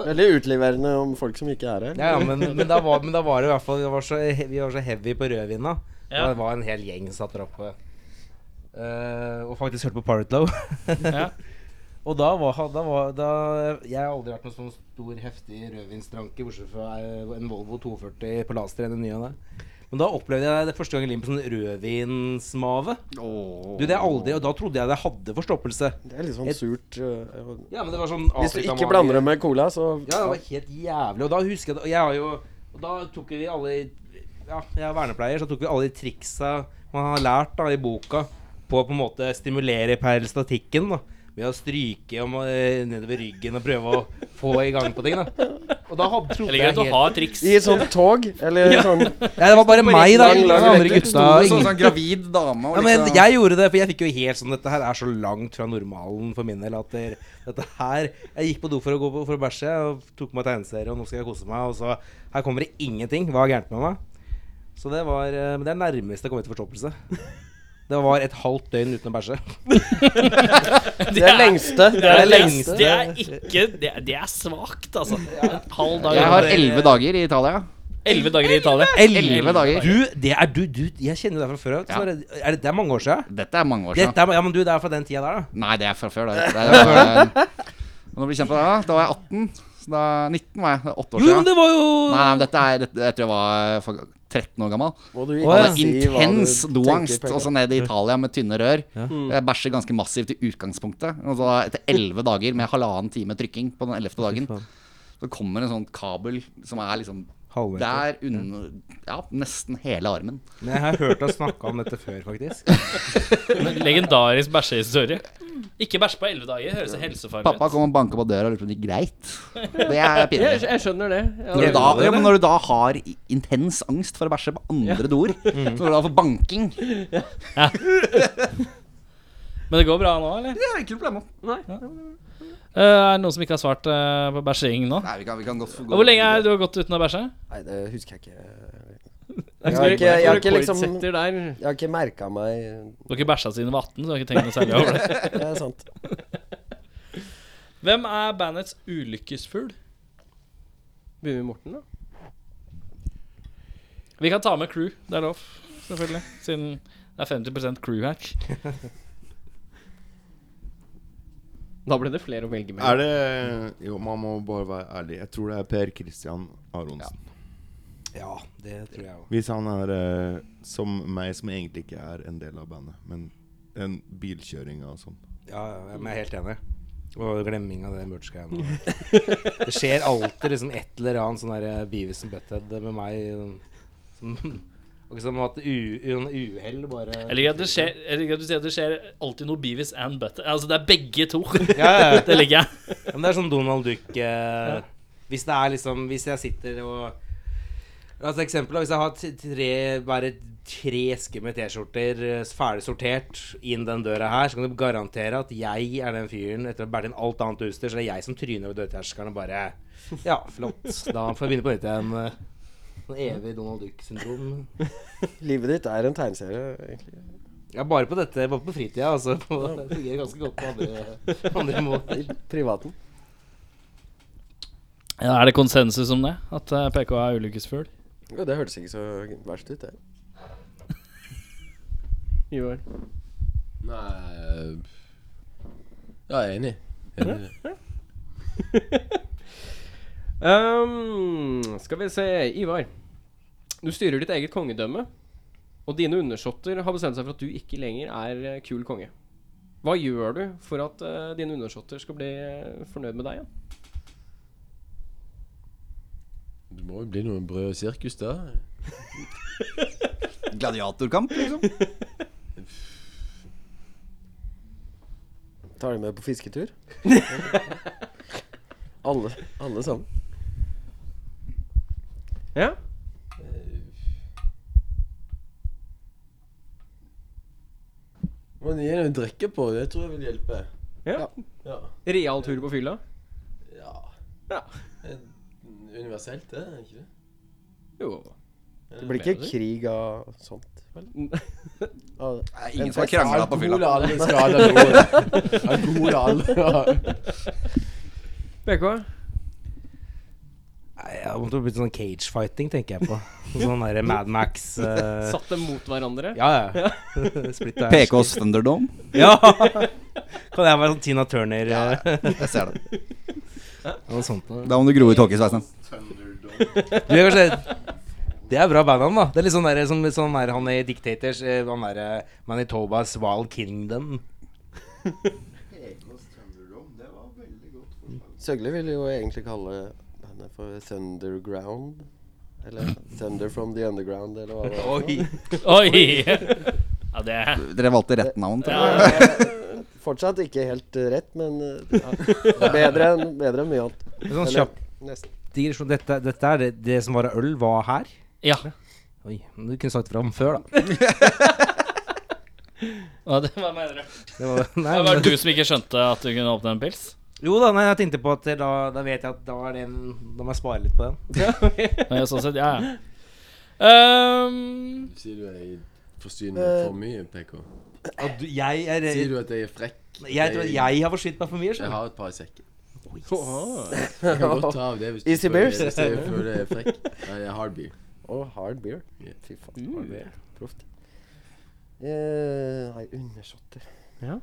F: Veldig utleverende om folk som ikke er her.
H: Ja, ja men, men, da var, men da var det i hvert fall Vi var så, he- vi var så heavy på rødvin da.
B: Ja.
H: Det var en hel gjeng som satt der oppe. Eh, og faktisk hørte på Pirate Low.
B: Ja.
H: Og da var, han- da var da, Jeg har aldri vært noen sånn stor, heftig rødvinstranke bortsett fra eh, en Volvo 240 på laster. En ny en der. Men da opplevde jeg det første gang i livet på sånn rødvinsmave. Du, det er aldri, Og da trodde jeg det hadde forstoppelse.
F: Det er litt sånn
H: Jeg-
F: surt. øh,
H: Ja, men det var sånn
F: Hvis du ikke
H: Afrikamage.
F: blander det med cola, så
H: Ja, det var helt jævlig. Og da husker jeg det- Og jeg har jo Og da tok vi alle Ja, jeg er vernepleier, så tok vi alle de triksa man har lært da i boka på å på en måte stimulere peristatikken. da ved å stryke om, eh, nedover ryggen og prøve å få i gang på ting. da Og da hadde, trodde
B: Jeg liker
H: jeg
B: at du
H: helt
B: har triks.
F: I et sånt tog, eller sånn
H: ja, Det var bare meg, da.
F: lang,
H: Ingen av
F: lang
H: de andre
F: rekke.
E: Sånn,
H: gutta. Ingen.
E: sånn gravid dame og
H: Ja, men
E: liksom-
H: jeg gjorde det, for jeg fikk jo helt sånn Dette her er så langt fra normalen for min del at det- dette her Jeg gikk på do for å, gå på, for å bæsje og tok på meg tegneserie, og nå skal jeg kose meg, og så Her kommer det ingenting. Hva er gærent med meg? Så det var eh, Men det er nærmest jeg kom til forstoppelse. Det var et halvt døgn uten å bæsje.
F: Det er lengste.
B: Det er,
H: lengste.
B: det er ikke Det er, det er svakt, altså. En halv dag.
E: Jeg har elleve dager i Italia.
B: Elleve dager i Italia.
E: Elleve dager.
H: Du, det er du, du Jeg kjenner jo deg fra før av.
E: Ja.
H: Snorre. Er det, det er mange år siden?
E: Dette er mange år siden.
H: Dette er, ja, men du, det er fra den tida der, da.
E: Nei, det er fra før. Da, det er, det er, når vi kjent på det, da, da var jeg 18. Så da 19 var jeg. Det er åtte år
H: Jo, men
E: siden.
H: det var jo
E: Nei, men dette er dette, Jeg tror jeg var for- 13 år gammel.
F: Må du
H: Å,
E: Jeg
F: ikke
H: ja.
E: hadde
F: si hva du
E: intens
F: tenker,
E: doangst.
F: Pekka.
E: Og sånn. så ned i Italia med tynne rør. Jeg bæsjer ganske massivt i utgangspunktet. Og så etter 11 dager med halvannen time trykking på den 11. dagen,
H: faen.
E: så kommer en sånn kabel som er liksom
H: Halvmeter.
E: der under Ja, nesten hele armen.
H: Men Jeg har hørt deg snakke om dette før, faktisk.
B: Legendarisk bæsjehistorie. Ikke bæsje på elleve dager. Høres helsefarlig ut.
E: Pappa kom og banka på døra og lurte på om det gikk greit. Det er
A: Jeg,
E: pinlig.
A: jeg skjønner det. Jeg,
E: Når du,
H: Gjør
E: da,
H: du det,
E: ja, men
H: eller?
E: når du da har i- intens angst for å bæsje på andre doer, så når du da får banking Det
B: Men det går bra nå, eller?
E: er ikke noe problem.
B: Eh, er det noen som ikke har svart eh, på bæsjing nå?
E: Nei, vi kan, vi kan godt få gå.
B: Og hvor lenge er det du har gått uten å bæsje?
F: Nei, det husker jeg ikke.
A: jeg,
F: Jeg har ikke, jeg har ikke liksom
A: rekordsetter der.
F: Jeg har ikke merka meg
B: Du har ikke bæsja siden du var 18, så du har ikke tenkt noe særlig over det.
F: Det er sant.
B: Hvem er bandets ulykkesfugl?
A: Begynner vi med Morten, da?
B: Vi kan ta med crew. Det er lov, selvfølgelig. Siden det er 50 crew her.
A: Da ble det flere å velge
G: Er
A: mellom.
G: det Jo, man må bare være ærlig. Jeg tror det er Per Christian Aronsen.
H: Ja, det tror jeg òg.
G: Hvis han er eh, som meg, som egentlig ikke er en del av bandet, men en bilkjøring og sånn.
H: Ja, ja, men jeg er helt enig. Og glemming av det merch-greiene. Det skjer alltid liksom et eller annet sånn der Beavis and Butthead med meg. sånn- Som, og som har hatt u- sånn uhell, bare
B: Jeg liker at det skjer, jeg liker at du sier at det skjer alltid noe Beavis and Butter. Altså, det er begge to.
H: Ja, ja, ja.
B: Det liker jeg.
H: Ja, Men det er sånn Donald Duck eh, Hvis det er liksom Hvis jeg sitter og La oss ta eksempel da, Hvis jeg har t- tre Bare tre esker med t-skjorter eh, Ferdig sortert Inn den døra her Så kan du garantere at jeg er den fyren Etter å ha bært inn alt annet utstyr Så det er jeg som tryner over dørterskeren Og bare Ja, flott Da får jeg begynne på nytt igjen eh, Sånn evig Donald Duck-syndrom
F: Livet ditt er en tegneserie, egentlig.
H: Ja, bare på dette Bare på fritida altså på, Det fungerer ganske godt på andre, andre måter
F: I privaten.
B: Ja, er det konsensus om det? At eh, PK er ulykkesfugl?
F: Ja, det hørtes ikke så verst ut, det.
A: Ivar.
I: Nei eh, Ja, jeg er enig. Jeg er enig. i det.
A: Ehm, skal vi se Ivar. Du styrer ditt eget kongedømme. Og dine undersåtter har bestemt seg for at du ikke lenger er eh, kul konge. Hva gjør du for at eh, dine undersåtter skal bli eh, fornøyd med deg igjen?
I: Det må jo bli noe brød og sirkus, da.
E: Gladiatorkamp, liksom.
F: Tar de med på fisketur? alle, alle sammen.
A: Ja?
I: Men gi noe å drikke på, det tror jeg vil hjelpe.
A: ja.
I: Ja.
A: Real tur på fylla?
I: ja.
A: Ja.
I: Eh, Universelt, det, er ikke det?
A: Jo.
F: Det blir ikke krig av sånt. Av det.
E: Nei, ingen som har krangla på fylla.
I: Alkohol er aldri skada noen. Alkohol er aldri
A: BK?
H: Nei, jeg måtte bli sånn cage fighting Tenker jeg på Sånn der Mad Max eh,
A: Satt dem mot hverandre?
H: Ja, ja. Splitt der.
E: PKs Thunderdome.
H: Ja! Kan jeg være sånn Tina Turner? Ja,
E: Jeg ser det.
H: Noe sånt noe.
E: Da må du gro ut hockeysveisen.
H: Du er kanskje Det er bra bandnavn, da. Det er litt sånn der, som sånn der, han i Dictators eh, Han derre Manitobas Wild Kingdom.
F: Søgli vil jo egentlig kalle bandet for Thunderground. Eller Thunder from the Underground, eller hva det var.
H: Oi!
B: Oi! Ja, det er
E: Dere valgte rett navn. tror jeg.
F: Fortsatt ikke helt eh, rett, men eh, ja. Det er bedre enn bedre enn mye annet.
H: Sånn
F: Eller,
H: kjapp
F: nesten.
H: digresjon. Dette, dette er det, det som var av øl, var her.
B: Ja.
H: Oi, men Du kunne sagt fra om før, da.
B: Hva, det, hva mener du?
H: Det var, nei,
B: Det var
H: men,
B: du som ikke skjønte at du kunne åpne en pils?
H: jo da, nei, jeg tenkte på at eh, da, da vet jeg at da, er det en, da må jeg spare litt på den.
B: Nei, sånn sett, ja, ja. Ehm,
I: Sier du jeg forstyrrer meg
H: Eh,
I: for mye, PK?
H: At du, jeg, er,
I: Sier
H: jeg,
I: du at jeg er frekk?
H: tror at eh, jeg Oh, har forsynt meg for mye.
I: Jeg
H: skjønner du.
I: har et par i sekken.
A: Åh.
I: Jeg kan godt ta av det hvis du
F: Easy
I: føler-
F: beers?
I: hvis jeg føler jeg er frekk. Nei, jeg er hard beer.
F: Og hard beer.
I: Ja.
F: Fy
A: Mm.
F: faen. Hard beer. Proft. Eh, nei, undersåtter
A: Ja.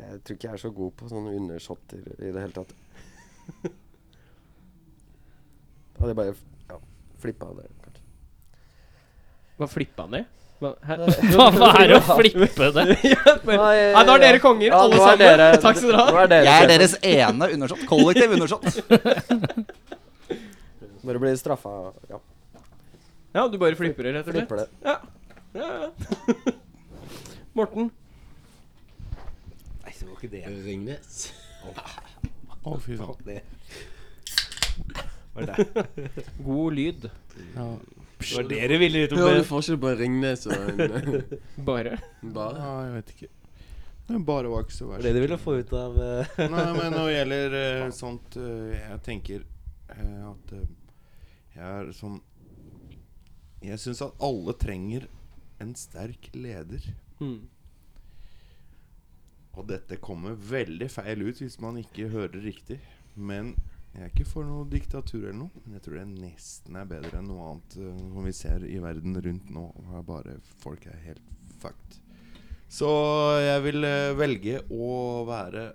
F: Jeg tror ikke jeg er så god på sånne undersåtter i det hele tatt. Hadde jeg bare f- ja, flippa det, kanskje.
A: Hva flippa han i? Hva, hæ?
B: hva, hva er det å flippe det?
A: ja, men, nei, da er dere konger,
F: Ja, nå
A: alle
F: er
A: sammen.
F: dere-
A: Takk skal dere ha.
F: Nå er dere
E: Jeg er
F: sjefen.
E: deres ene undersått. Kollektiv undersått.
F: Bare bli straffa. Ja,
A: Ja, du bare flipper det, rett og slett?
F: flipper det.
A: Ja, ja. Morten?
H: Nei, det var ikke det.
I: Ringnes.
G: Å, fy faen.
H: Fuck det.
A: God lyd.
H: Det var det du ville ut
I: Hører du forskjell på en Ringnes og en
A: Bare.
I: bar?
G: Ja, jeg vet ikke. Det bare var ikke så verst.
H: Det du ville få ut av eh.
G: Nei, men når det gjelder eh, sånt eh, Jeg tenker eh, at eh, jeg er sånn Jeg syns at alle trenger en sterk leder.
A: Mm.
G: Og dette kommer veldig feil ut hvis man ikke hører riktig. Men jeg er ikke for noe diktatur eller noe. Men jeg tror det nesten er bedre enn noe annet eh, som vi ser i verden rundt nå. Hvor bare folk er helt fucked. Så jeg vil eh, velge å være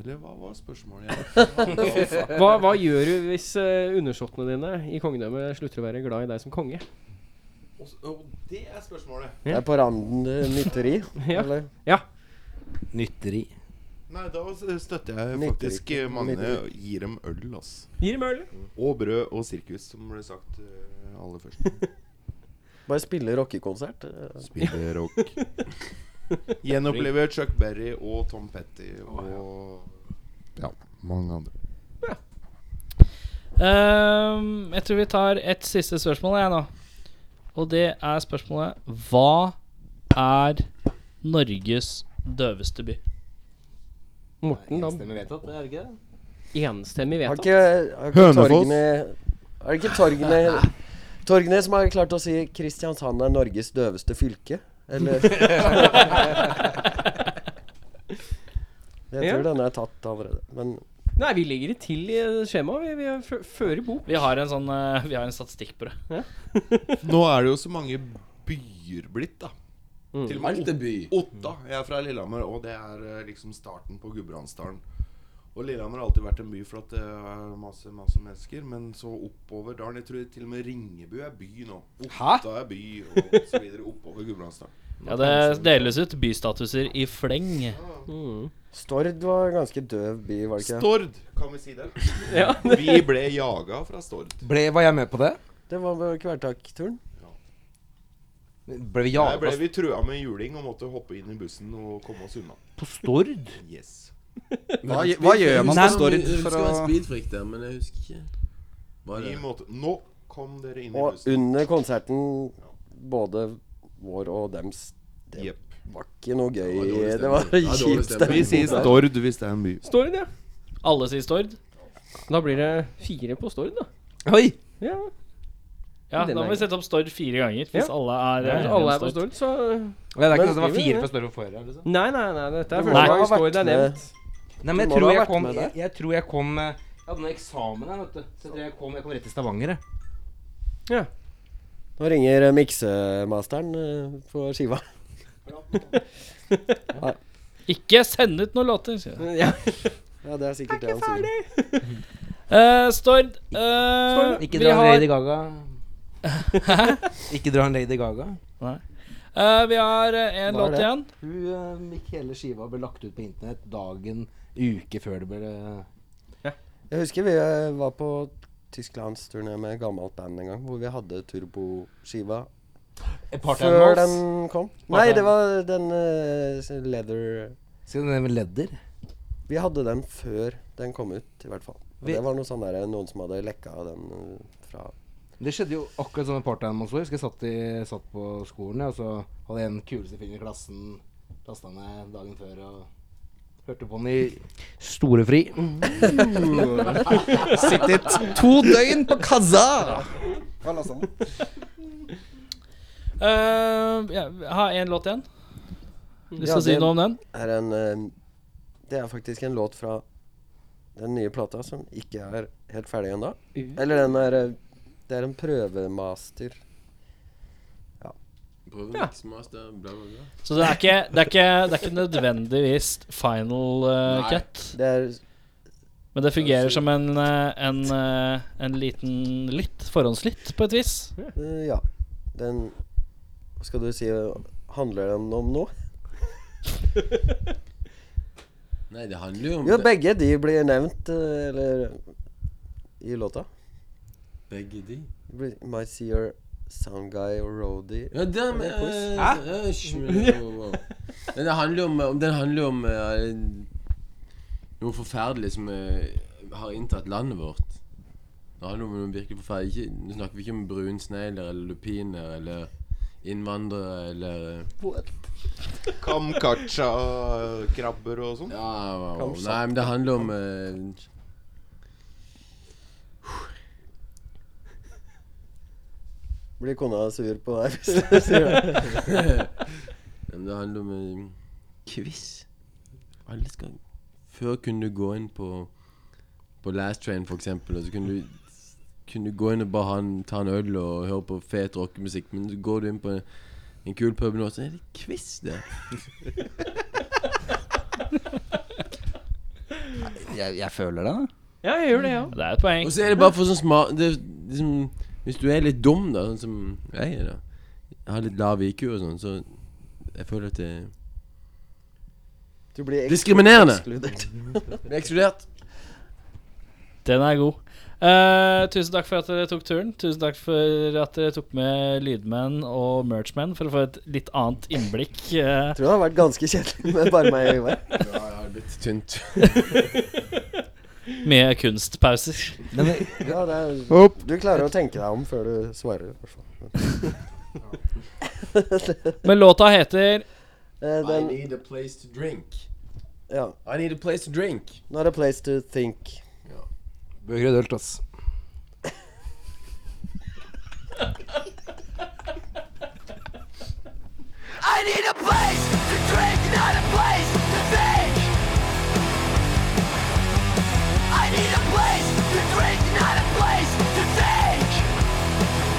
G: Eller hva var spørsmålet igjen?
A: Hva, hva gjør du hvis eh, undersåttene dine i kongedømmet slutter å være glad i deg som konge?
G: Og s- og det er spørsmålet.
F: eh, Det er på randen til mytteri.
A: Ja.
F: Eller
H: Nytteri.
G: Nei, da s- støtter jeg
F: Nytter
G: faktisk eh,
F: ikke.
G: Magne.
F: Nytter
G: og Gir dem øl, ass. Mm.
A: Gir dem øl.
G: Og brød og sirkus, som ble sagt eh, aller først.
F: Bare spille rockekonsert. eh,
G: Spille rock. Gjenoppleve Chuck Berry og Tom Petty og Ja, mange andre.
B: Ehm, jeg tror vi tar et siste spørsmål, jeg, nå. Og det er spørsmålet Hva er Norges døveste by?
A: Morten Dam.
J: Stemmer vedtatt, er det ikke det?
A: Enstemmig
F: Har
A: vedtatt.
F: ikke, har ikke
G: Hønefoss.
F: torgene Er det ikke torgene Torgene som har klart å si Kristiansand er Norges døveste fylke? Eller Jeg
A: Ja.
F: tror denne er tatt allerede. Men
A: Nei, vi ligger til i skjemaet. Vi, vi er fø- fører bok.
B: Vi har en sånn eh, Vi har en statistikk på det.
G: Nå er det jo så mange byer blitt, da.
A: Mm.
G: Til og med
I: Alt er by.
G: Otta. Jeg er fra Lillehammer, og det er eh, liksom starten på Gudbrandsdalen. Og Lillehammer har alltid vært en by for at det er masse masse mennesker. Men så oppover dalen Jeg tror til og med Ringebu er by nå. Otta er by, og så videre oppover Gudbrandsdalen.
B: Ja,
A: sånn.
B: det deles ut bystatuser i fleng.
F: Stord var en ganske døv by, var det ikke?
G: Stord, kan vi si det?
A: Ja.
G: Vi ble jaga fra Stord.
H: Ble, var jeg med på det?
F: Det var vel kvelertakturen.
H: Ble
G: Der
H: vi
G: ble
F: altså-
H: jaga
G: vi trua med juling og måtte hoppe inn i bussen og komme oss unna.
H: på Stord?
G: Yes.
E: Hva, gj- hva gjør man på Stord
I: Jeg husker
E: for
I: det var en
E: å
I: speedfreak der, men jeg husker ikke. Hva er
G: Vi
I: det?
G: måtte Nå kom dere inn i
F: Og
G: bussen.
F: under konserten, både vår og dems Det
G: Jep.
F: var ikke noe gøy.
I: dårlig
F: Det var
I: stemning. Ja, dårlig
F: kjip
I: stemning.
F: stemning.
I: Vi sier
G: Stord hvis det er en by.
A: Stord, ja.
B: Alle sier Stord.
A: Da blir det fire på Stord, da.
H: Oi!
A: Ja,
B: Ja,
A: Den
B: da må
A: er-
B: vi sette opp Stord fire ganger. Hvis
A: Ja.
B: alle er, eh,
A: Hvis alle er på Stord, så
H: Det er ikke noe, det var
A: skriver
H: fire
A: det.
H: på Stord og forrige. Liksom.
A: Nei, nei, nei. Dette er
F: Du må
A: første
F: ha
A: gang
F: vært
A: Stord er
F: med.
A: nevnt.
H: Nei, men
F: Du
H: jeg
F: må
H: tror
F: da ha
H: jeg
F: vært
H: kom
F: med
H: Jeg,
F: der.
H: jeg tror jeg kom eh, Jeg hadde noen eksamen her, vet du. Så jeg tror jeg kom, jeg kom rett til Stavanger, jeg.
F: Nå ringer eh, miksemasteren eh, på skiva.
B: Ikke send ut noen låter. sier jeg.
A: Ja.
F: Ja, det er sikkert det han sier.
B: Eh, Stord, eh,
H: Ikke
B: vi
H: dra en
B: har-
H: Lady Gaga. Ikke dra en Lady Gaga.
B: Eh, vi har eh, en
H: Hva er
B: låt
H: det?
B: igjen.
H: Hun, eh, ikke hele skiva ble lagt ut på internett dagen, uke før det ble eh,
F: Jeg husker vi eh, var på Tysklandsturné med gammelt band en gang, hvor vi hadde turboskiva før den kom. Nei, det var den eh, s- leather
H: Skal du nevne Ledder?
F: Vi hadde den før den kom ut, i hvert fall. Og
H: Vi-
F: det var noe sånn der, noen som hadde lekka den eh, fra
H: Det skjedde jo akkurat som med Part-Time også. Jeg husker jeg satt, i, satt på skolen, ja, og så hadde jeg den kuleste fyren i klassen lasta ned dagen før og hørte på den i store fri.
E: Sittet to døgn på kassa! altså?
B: Eh, ja, vi har en låt igjen. Du
F: Ja,
B: skal si
F: det-
B: noe om den?
F: er en eh, Det er faktisk en låt fra den nye plata som ikke er helt ferdig ennå.
B: Mm.
F: Eller den er eh, Det er en prøvemaster.
I: Prøve miksmaster, bla, bla, bla.
B: Så det er ikke, det er ikke, det er ikke nødvendigvis final eh,
I: Nei.
B: cut.
F: Det er
B: Men det fungerer som en, eh, en, eh, en liten lytt. Forhåndslytt, på et vis.
F: eh, Ja. Den Hva skal du si eh, Handler den om noe?
I: Nei, det handler jo om
F: Jo,
I: det.
F: begge de blir nevnt, eh, eller I låta.
I: begge de.
F: Det blir Might see your sound guy or roadie.
I: Ja, det med
F: Det er quiz.
I: eh, eh, hysj, men- wow, wow. Men det handler jo om, om Den handler jo om eh, noe forferdelig som eh, har inntatt landet vårt. Det handler om noe virkelig forferdelig ikke, Nå snakker vi ikke om brunsnegler eller lupiner eller innvandrere eller
G: Kamkacha-krabber og sånn.
I: Ja, wow, wow.
F: Kamsatt.
I: Nei, men det handler om eh,
F: Blir kona sur på deg hvis du sier det?
I: Ja, men Det handler om en quiz. Alle skal Før kunne du gå inn på På Last Train, for eksempel, og så kunne du kunne du gå inn og bare ha en, ta en øl og høre på fet rockemusikk, men så går du inn på en, en kul pub nå, så er det quiz, det.
E: Jeg, jeg føler det. da.
A: Ja, jeg gjør det, ja.
B: Det er et poeng.
I: Og så er det bare for sånn smart det, er liksom, Hvis du er litt dum, da, sånn som jeg er, da Jeg har litt lav IQ og sånn, så jeg føler at det
F: Du blir eks-
I: Diskriminerende.
F: ekskludert.
I: Blir ekskludert.
B: Den er god. Eh, tusen takk for at dere tok turen. Tusen takk for at dere tok med lydmenn og merchmenn for å få et litt annet innblikk. eh.
F: Tror det har vært ganske kjedelig med bare meg og Ivar.
I: Ja, jeg har blitt tynt.
B: med kunstpauser.
F: Ja, det er, Du klarer å tenke deg om før du svarer, i hvert fall.
B: Men låta heter
F: Eh,
I: I
F: den,
I: need a place to drink.
F: ja.
I: I need a place to drink.
F: Not a place to think.
H: Bøker og dølt, ass.
K: I need a place to drink, not a place to think. I need a place to drink, not a place to think.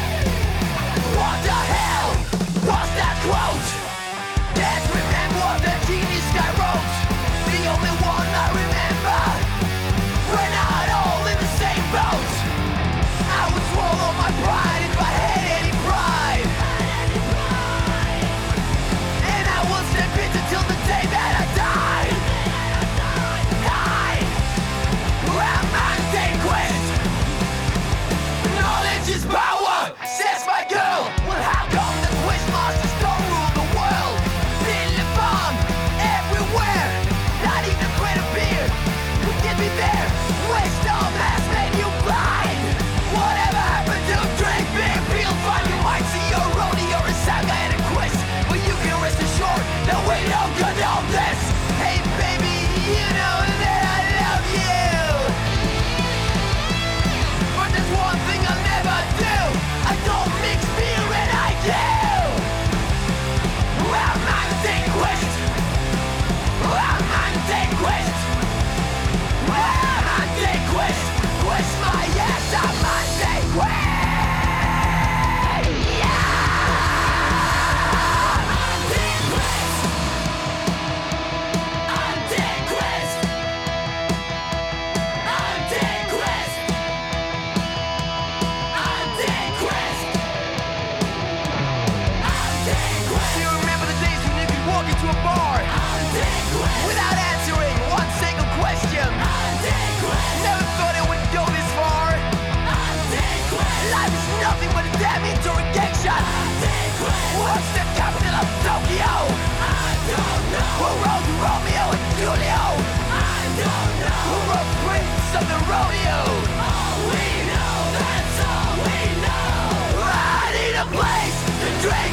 K: What the hell was that quote? Can't remember the genius I wrote. The only one I remember. We're not all in the same boat. I would swallow my pride if I had any pride. And I will stay bitter till the day that I die. Die. I'm antiquated. Knowledge is power, says my girl. Well, how come the quizmasters don't rule the world? Feel the bomb everywhere. Not even greater beer could get me there. Wisdom has made you blind. Whatever happened to drink beer, feel fine. You might see your rodeo, a saga, and a quiz. But you can rest assured that we don't condone this. Hey, baby, you know that I love you. But there's one thing I'll never do I don't mix beer and I do I'm antiquist I'm antiquist I'm antiquist Twist my ass, I'm antiquist Yeah Antiquist Antiquist Antiquist Romeo and Julio? I don't know. Who wrote Prince of the Rodeo? All we know, that's all we know. I need a place to drink.